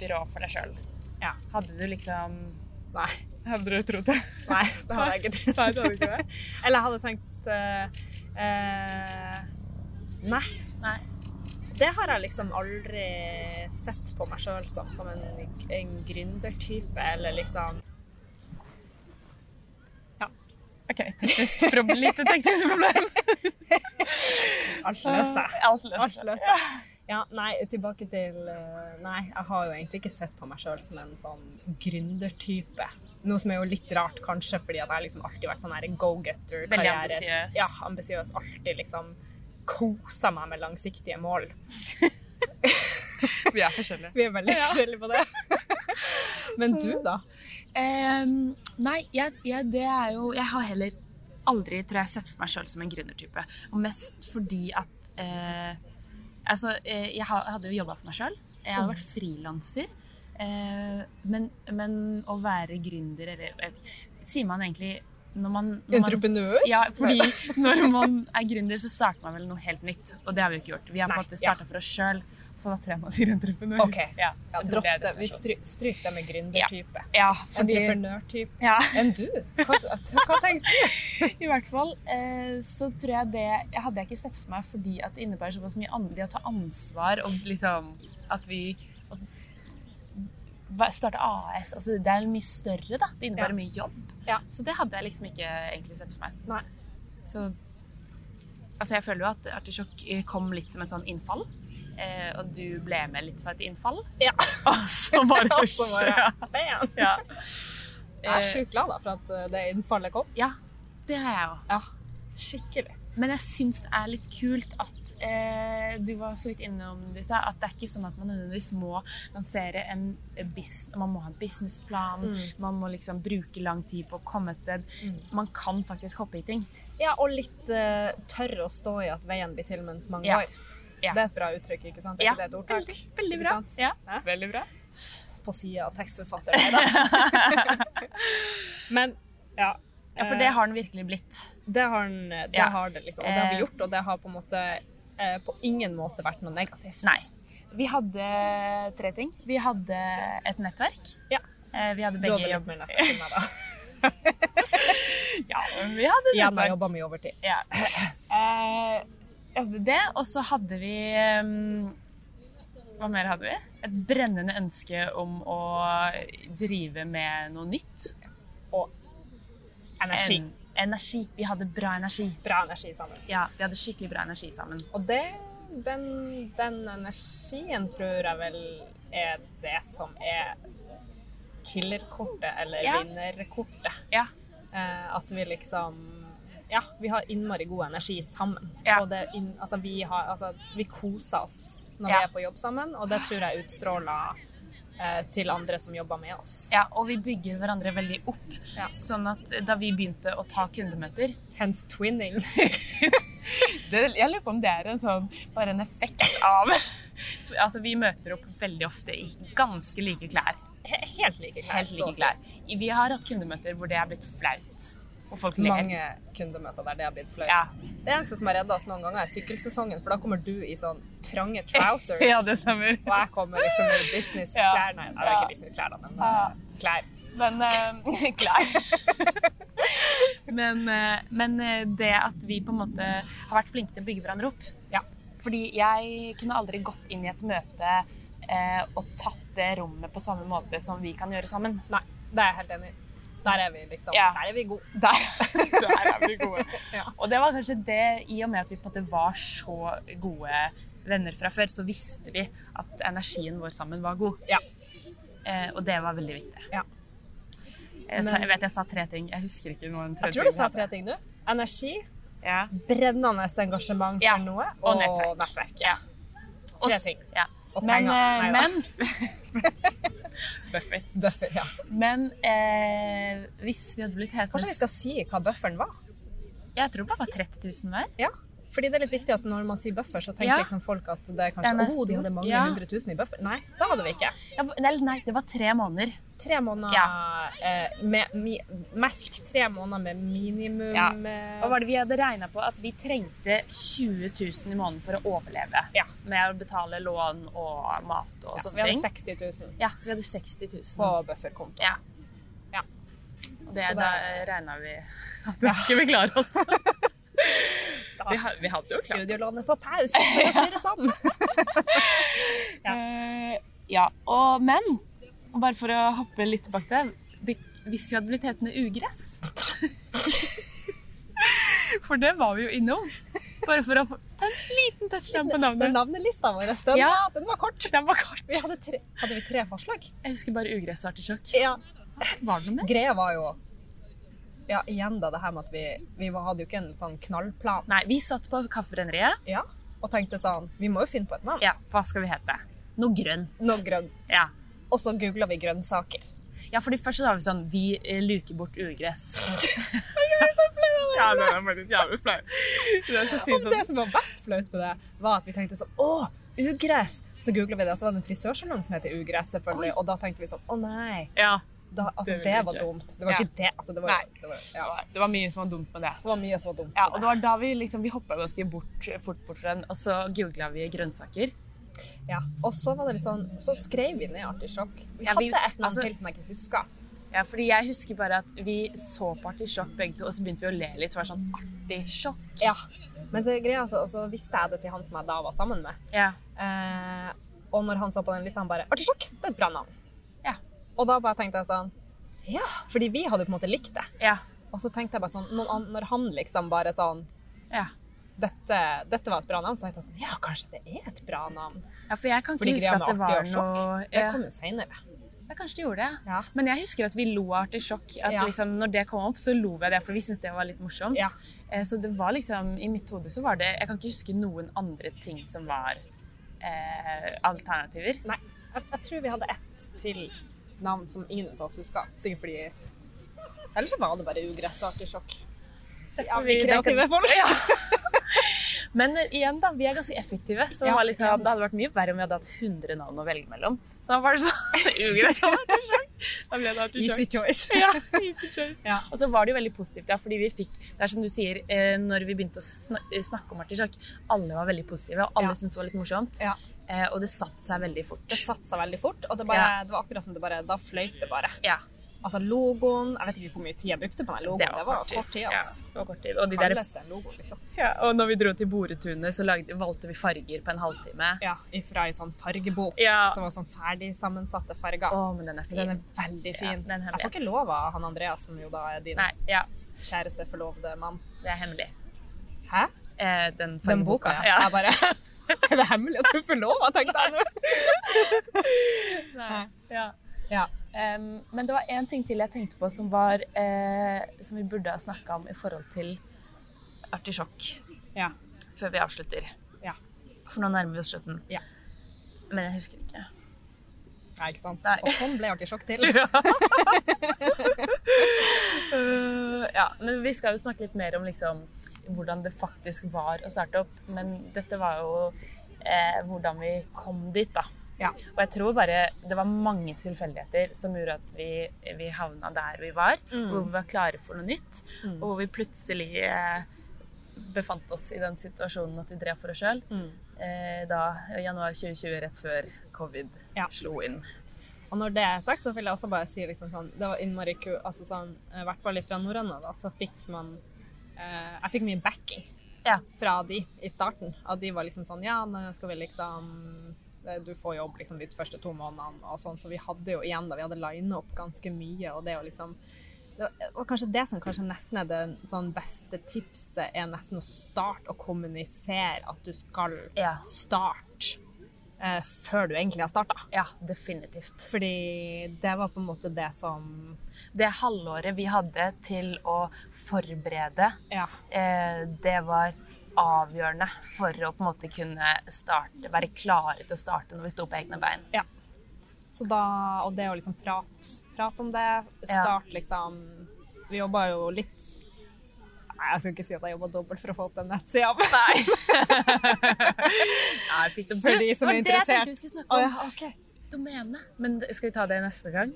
B: byrå for deg sjøl.
A: Ja.
B: Hadde du liksom
A: Nei.
B: Hadde du trodd det?
A: Nei, det hadde jeg ikke
B: Nei,
A: trodd.
B: det hadde du ikke det.
A: Eller jeg hadde tenkt eh, eh, Nei.
B: Nei.
A: Det har jeg liksom aldri sett på meg sjøl som, som en, en gründertype, eller liksom
B: OK, teknisk problem, lite teknisk problem.
A: Alt løser jeg.
B: Alt løser
A: Alt
B: seg.
A: løser jeg. Eh, Ja, nei, tilbake til eh, Nei, jeg har jo egentlig ikke sett på meg sjøl som en sånn gründertype. Noe som er jo litt rart, kanskje, fordi at jeg har liksom alltid vært sånn her go-getter.
B: Veldig
A: karriere-
B: ambisiøs.
A: Ja, ambisiøs. Alltid liksom kosa meg med langsiktige mål.
B: Vi er forskjellige.
A: Vi er veldig forskjellige på det. Men du, da?
B: Ehm, nei, jeg, jeg, det er jo Jeg har heller aldri, tror jeg, sett for meg sjøl som en gründertype. Og mest fordi at eh, Altså, eh, jeg ha- hadde jo jobba for meg sjøl. Jeg hadde
A: Mm.
B: vært frilanser. Eh, men, men å være gründer, eller jeg vet ikke, Sier man egentlig når man, når man
A: Entreprenør?
B: ja, fordi når man er gründer, så starter man vel noe helt nytt. Og det har vi jo ikke gjort. Vi har på
A: Nei,
B: en måte
A: ja.
B: starta for oss sjøl, så da tror jeg man sier entreprenør.
A: Ok. Ja,
B: Ja, jeg tror
A: dropp
B: det er
A: det. Vi
B: definisjonen.
A: stry stryk det med gründertype.
B: ja, fordi
A: Entreprenørtype.
B: ja.
A: Enn du? Hva, hva tenkte du?
B: I hvert fall eh, så tror jeg det jeg hadde jeg ikke sett for meg fordi at det innebærer såpass mye an det å ta ansvar og liksom at vi at- hva- Starte AS. Altså det er mye større, da. Det innebærer
A: Ja.
B: mye jobb.
A: Ja.
B: Så det hadde jeg liksom ikke egentlig sett for meg.
A: Nei.
B: Så Altså jeg føler jo at Artisjokk kom litt som et sånn innfall. Eh, og du ble med litt for et innfall.
A: Ja.
B: Og så bare,
A: Og så bare- Bam.
B: ja.
A: Jeg er
B: Eh,
A: sjukt glad da, for at eh, det innfallet kom.
B: Ja, det har jeg òg.
A: Ja, skikkelig.
B: Men jeg syns det er litt kult at eh, du var så vidt innom det i stad, at det er ikke sånn at man nødvendigvis må lansere en business, man må ha en businessplan, man må liksom bruke lang tid på å komme et sted.
A: Mm.
B: Man kan faktisk hoppe i ting.
A: Ja, og litt eh, tørre å stå i at veien blir til mens man
B: Ja.
A: går.
B: Ja.
A: Det er et bra uttrykk, ikke sant? Er
B: Ja.
A: ikke det et ordtak?
B: Veldig
A: bra.
B: Ja.
C: Veldig bra.
A: På sida av tekstforfatteren. Neida. Men ja.
B: ja, for
A: Eh,
B: det har den virkelig blitt.
A: Det har, den, det,
B: Ja.
A: har det, liksom. Og det har vi
B: Eh.
A: gjort, og det har på en måte eh, på ingen måte vært noe negativt.
B: Nei. Vi hadde tre ting. Vi hadde et nettverk.
A: Ja.
B: Eh, vi hadde
A: Du
B: begge
A: hadde
B: jobb.
A: litt mer nettverk enn meg, da.
B: Ja, men vi hadde
A: Igjen har jeg jobba mye overtid.
B: Ja. Eh, hadde det, og så hadde vi ehm, Hva mer hadde vi? Et brennende ønske om å drive med noe nytt.
A: Energi.
B: En, energi. Vi hadde bra energi.
A: Bra energi sammen.
B: Ja, vi hadde skikkelig bra energi sammen.
A: Og det, den, den energien tror jeg vel er det som er killerkortet eller
B: Ja.
A: vinnerkortet.
B: Ja.
A: Eh, at vi liksom Ja, vi har innmari god energi sammen.
B: Ja.
A: Og det, er inn, altså, vi har, altså, vi koser oss når
B: Ja.
A: vi er på jobb sammen, og det tror jeg utstråler eh, til andre som jobber med oss.
B: Ja, og vi bygger hverandre veldig opp.
A: Ja.
B: Sånn at da vi begynte å ta kundemøter
A: Hence twinning.
B: det, Jeg lurer på om det er en sånn bare en effekt av Altså, vi møter opp veldig ofte i ganske like klær.
A: He- Helt like klær.
B: Helt
A: så å
B: like
A: si.
B: klær. Vi har hatt kundemøter hvor det er blitt flaut. Og folk ler.
A: Mange kundemøter der det har blitt flaut.
B: Ja.
A: Det eneste som har redda oss noen ganger, er sykkelsesongen, for da kommer du i sånn trange trousers.
B: Ja, det stemmer.
A: Og jeg kommer liksom i businessklær. Nei, det er
B: Ja.
A: ikke businessklær, da, men
B: Ja.
A: eh, klær.
B: Ah. Men eh, Klar. men, eh, men eh, det at vi på en måte har vært flinke til å bygge hverandre opp.
A: Ja.
B: Fordi jeg kunne aldri gått inn i et møte eh, og tatt det rommet på samme måte som vi kan gjøre sammen.
A: Nei, det er jeg helt enig i. Der er vi liksom
B: Ja.
A: Der er vi gode.
B: Der, der er vi gode.
A: Ja.
B: Og det var kanskje det, i og med at vi på en måte var så gode venner fra før, så visste vi at energien vår sammen var god.
A: Ja.
B: Eh, og det var veldig viktig.
A: Ja.
B: Eh, så
A: Men-
B: jeg vet jeg sa tre ting. Jeg husker ikke noen
A: Jeg tror du sa tre ting, du. Energi,
B: Ja.
A: brennende engasjement
B: Ja.
A: for noe
B: Og nettverk.
A: ja. Tre
B: Og s-
A: ting.
B: Ja.
A: Og
B: Men,
A: penger.
B: eh,
A: Neida.
B: men Buffer.
A: Buffer, ja.
B: Men eh, hvis vi hadde blitt
A: Kanskje
B: hetende
A: vi skal si hva bufferen var?
B: Jeg tror det bare var 30 000 hver.
A: Ja. Fordi det er litt viktig at når man sier buffer, så tenker
B: Ja.
A: liksom folk at det er
B: Det
A: kanskje
B: er
A: Å,
B: nesten-
A: de hadde mange
B: ja.
A: hundre tusen i buffer. Nei, det hadde vi ikke.
B: Ja, nei, nei, det var tre måneder.
A: Tre måneder eh, med mi, Merk tre måneder med minimum
B: Ja.
A: eh,
B: Og var det vi hadde regna på at vi trengte 20 000 i måneden for å overleve.
A: Ja.
B: Med å betale lån og mat og
A: ja, så vi
B: sånne
A: hadde
B: ting.
A: 60 000
B: Ja, så vi hadde 60 000.
A: på bufferkonto.
B: Ja.
A: Ja.
B: Og Det,
A: Så
B: da
A: det-
B: regna vi at det skulle vi klare oss. vi, ha- vi hadde jo klart
A: Studielånet på pause, for å si det sånn. Ja.
B: Eh, ja, og men Bare for å hoppe litt tilbake til det Hvis vi hadde blitt hetende ugress For det var vi jo innom Bare for å få en liten touchdown på
A: Men
B: navnet
A: navnelista vår den,
B: Ja.
A: den var kort.
B: Den var kort
A: Vi hadde, tre, hadde vi tre forslag?
B: Jeg husker bare ugress og artisjokk
A: Ja.
B: Var det noe mer?
A: Greia var jo Ja, igjen da, det her med at vi, vi var- hadde jo ikke en sånn knallplan.
B: Nei, vi satt på kafferenneriet
A: Ja. Og tenkte sånn Vi må jo finne på et navn.
B: Ja, hva skal vi hete? Noe grønn
A: Noe grønt.
B: Ja,
A: Og så googla vi grønnsaker.
B: ja fordi først så var vi sånn Vi eh, luker bort ugress Ja, det er faktisk jævlig flau Det er så
A: Og det som var best flaut med det, var at vi tenkte sånn Å, ugress! Så googla vi det, og så var det en frisørsalong som heter Ugress, selvfølgelig. Og da tenkte vi sånn Å nei!
B: Ja,
A: Da, altså,
B: Det
A: det,
B: vil vi
A: var
B: ikke.
A: dumt. Det var
B: Ja.
A: ikke det. Altså, det var,
B: Nei.
A: det var, ja.
B: det var mye som var dumt med det
A: det var mye som var dumt.
B: Ja,
A: med
B: og det var da vi liksom, vi hoppa ganske bort, fort bort fra den, og så googla vi grønnsaker.
A: Ja. Og så var det litt sånn Så skrev vi ned artisjokk. Vi
B: Ja,
A: hadde
B: vi-
A: et navn
B: altså-
A: til som jeg ikke husker.
B: Ja, fordi jeg husker bare at vi så på artisjokk begge to, og så begynte vi å le litt. for Det var sånn artisjokk.
A: Ja. Men det greia, altså, og så visste jeg det til han som jeg da var sammen med.
B: Ja.
A: Eh, og når han så på den lista, han bare 'Artisjokk, det er et bra navn'.
B: Ja.
A: Og da bare tenkte jeg sånn Ja, fordi vi hadde jo på en måte likt det.
B: Ja.
A: Og så tenkte jeg bare sånn Når han, når han liksom bare sånn
B: Ja.
A: dette, dette var et bra navn, så tenkte jeg sånn Ja, kanskje det er et bra navn.
B: ja, for jeg kan ikke
A: Fordi
B: huske
A: greia
B: at det
A: med
B: var
A: artig og
B: noe
A: Det
B: ja,
A: kom jo seinere.
B: ja, Kanskje det gjorde det.
A: Ja.
B: Men jeg husker at vi lo av artisjokk. At
A: Ja.
B: liksom, når det kom opp, så lo vi av det, for vi syntes det var litt morsomt.
A: Ja.
B: Eh, Så det var liksom I mitt hode så var det Jeg kan ikke huske noen andre ting som var eh, alternativer.
A: Nei, jeg, jeg tror vi hadde ett til navn som ingen av oss husker. Sikkert fordi Eller så var det bare ugress og artisjokk. Ja, vi kreative folk.
B: Ja. Men eh, igjen, da. Vi er ganske effektive. Så det
A: Ja,
B: var liksom,
A: ja.
B: det hadde vært mye verre om vi hadde hatt 100 navn å velge mellom. Så da var det sånn ugress. og artisjokk. Da ble det artisjokk.
A: choice.
B: Ja, easy choice.
A: Ja.
B: Og så var det jo veldig positivt, ja, fordi vi fikk Det er som du sier, eh, når vi begynte å sna- eh, snakke om artisjokk, alle var veldig positive, og alle
A: Ja.
B: syntes det var litt morsomt.
A: Ja.
B: Eh, og det satte seg veldig fort.
A: Det satte seg veldig fort, og det, bare,
B: Ja.
A: det var akkurat som det bare Da fløyt det bare.
B: Ja,
A: Altså logoen Jeg vet ikke hvor mye tid jeg brukte på den logoen. Det var, kort tid,
B: Ja,
A: ass.
B: det var kort tid. Og, de der,
A: Kalles det en logo, liksom?
B: ja, og når vi dro til Boretunet, så lagde, valgte vi farger på en halvtime.
A: Ja, ifra ei sånn fargebok
B: Ja.
A: som var sånn ferdig sammensatte farger.
B: Å, men den er fin.
A: Den er veldig
B: Ja,
A: fin.
B: den her
A: jeg får ikke lov av han Andreas, som jo da er din
B: Nei, ja,
A: kjæreste, forlovede mann.
B: det er hemmelig.
A: Hæ?
B: Eh, den,
A: Den boka, ja.
B: ja.
A: Jeg bare Er det hemmelig at du får lov? tenkte jeg nå.
B: Nei, ja.
A: Ja.
B: Em, men det var én ting til jeg tenkte på som, var, eh, som vi burde ha snakka om i forhold til artisjokk.
A: Ja.
B: Før vi avslutter.
A: Ja.
B: For nå nærmer vi oss slutten.
A: Ja.
B: Men jeg husker ikke.
A: Nei, ikke sant?
B: Nei.
A: Og sånn ble jeg sjokk til.
B: Eh, ja, men vi skal jo snakke litt mer om liksom, hvordan det faktisk var å starte opp. Men dette var jo eh, hvordan vi kom dit, da.
A: Ja.
B: Og jeg tror bare det var mange tilfeldigheter som gjorde at vi, vi havna der vi var. Hvor vi var klare for noe nytt. Og hvor vi plutselig eh, befant oss i den situasjonen at vi drev for oss sjøl. Eh, da i januar 2020, rett før covid
A: Ja.
B: slo inn.
A: Og når det er sagt, så vil jeg også bare si liksom sånn Det var innmari ku... Altså sånn, i hvert fall fra norrøna, da, så fikk man eh, Jeg fikk mye backing
B: Ja.
A: fra de i starten. At de var liksom sånn Ja, nå skal vi liksom eh, du får jobb liksom de første to månedene og sånn, så vi hadde jo igjen da, vi hadde lina opp ganske mye, og det å liksom det var- det var kanskje det som kanskje nesten er det sånn beste tipset, er nesten å starte å kommunisere at du skal
B: Ja.
A: starte eh, før du egentlig har starta.
B: ja, definitivt.
A: Fordi det var på en måte det som
B: Det halvåret vi hadde til å forberede,
A: Ja.
B: eh, det var avgjørende for å på en måte kunne starte, være klare til å starte når vi sto på egne bein.
A: Så da, og det å liksom prate prat om det, start liksom Vi jobba jo litt Nei, jeg skal ikke si at jeg jobba dobbelt for å få opp den nettsida. men-
B: Nei. Nei, jeg fikk det
A: For de som er interessert.
B: Det var det jeg tenkte vi skulle
A: Å,
B: snakke om.
A: ja, ok.
B: Domene. Men det- skal vi ta det neste gang?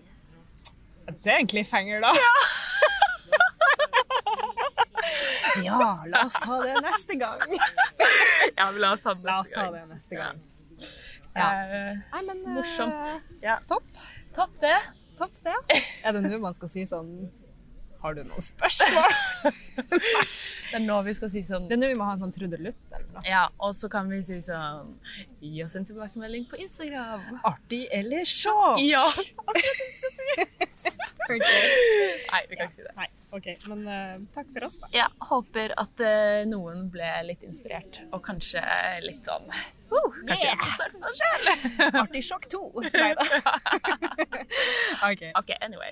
A: Det er en cliffhanger, da. Ja, la oss ta det neste gang.
B: Ja, men la oss ta det
A: La oss ta det neste gang.
B: Ja.
A: Nei, men eh,
B: Morsomt. Ja.
A: Topp.
B: Topp det.
A: Topp, det. Er det nå man skal si sånn Har du noen spørsmål?
B: Det er nå vi skal si sånn
A: Det er nå vi må ha en sånn trudelutt eller noe.
B: Ja, og så kan vi si sånn Gi oss en tilbakemelding på Instagram.
A: Artig eller sjå?
B: Ja!
A: Okay.
B: Nei, vi kan ikke si det.
A: Nei, OK. Men eh, takk for oss, da.
B: Ja, håper at eh, noen ble litt inspirert, og kanskje litt sånn
A: Uh,
B: «Woo, Kanskje jeg skal starte for meg selv?
A: Artig sjokk 2. Nei da. OK.
B: OK, anyway.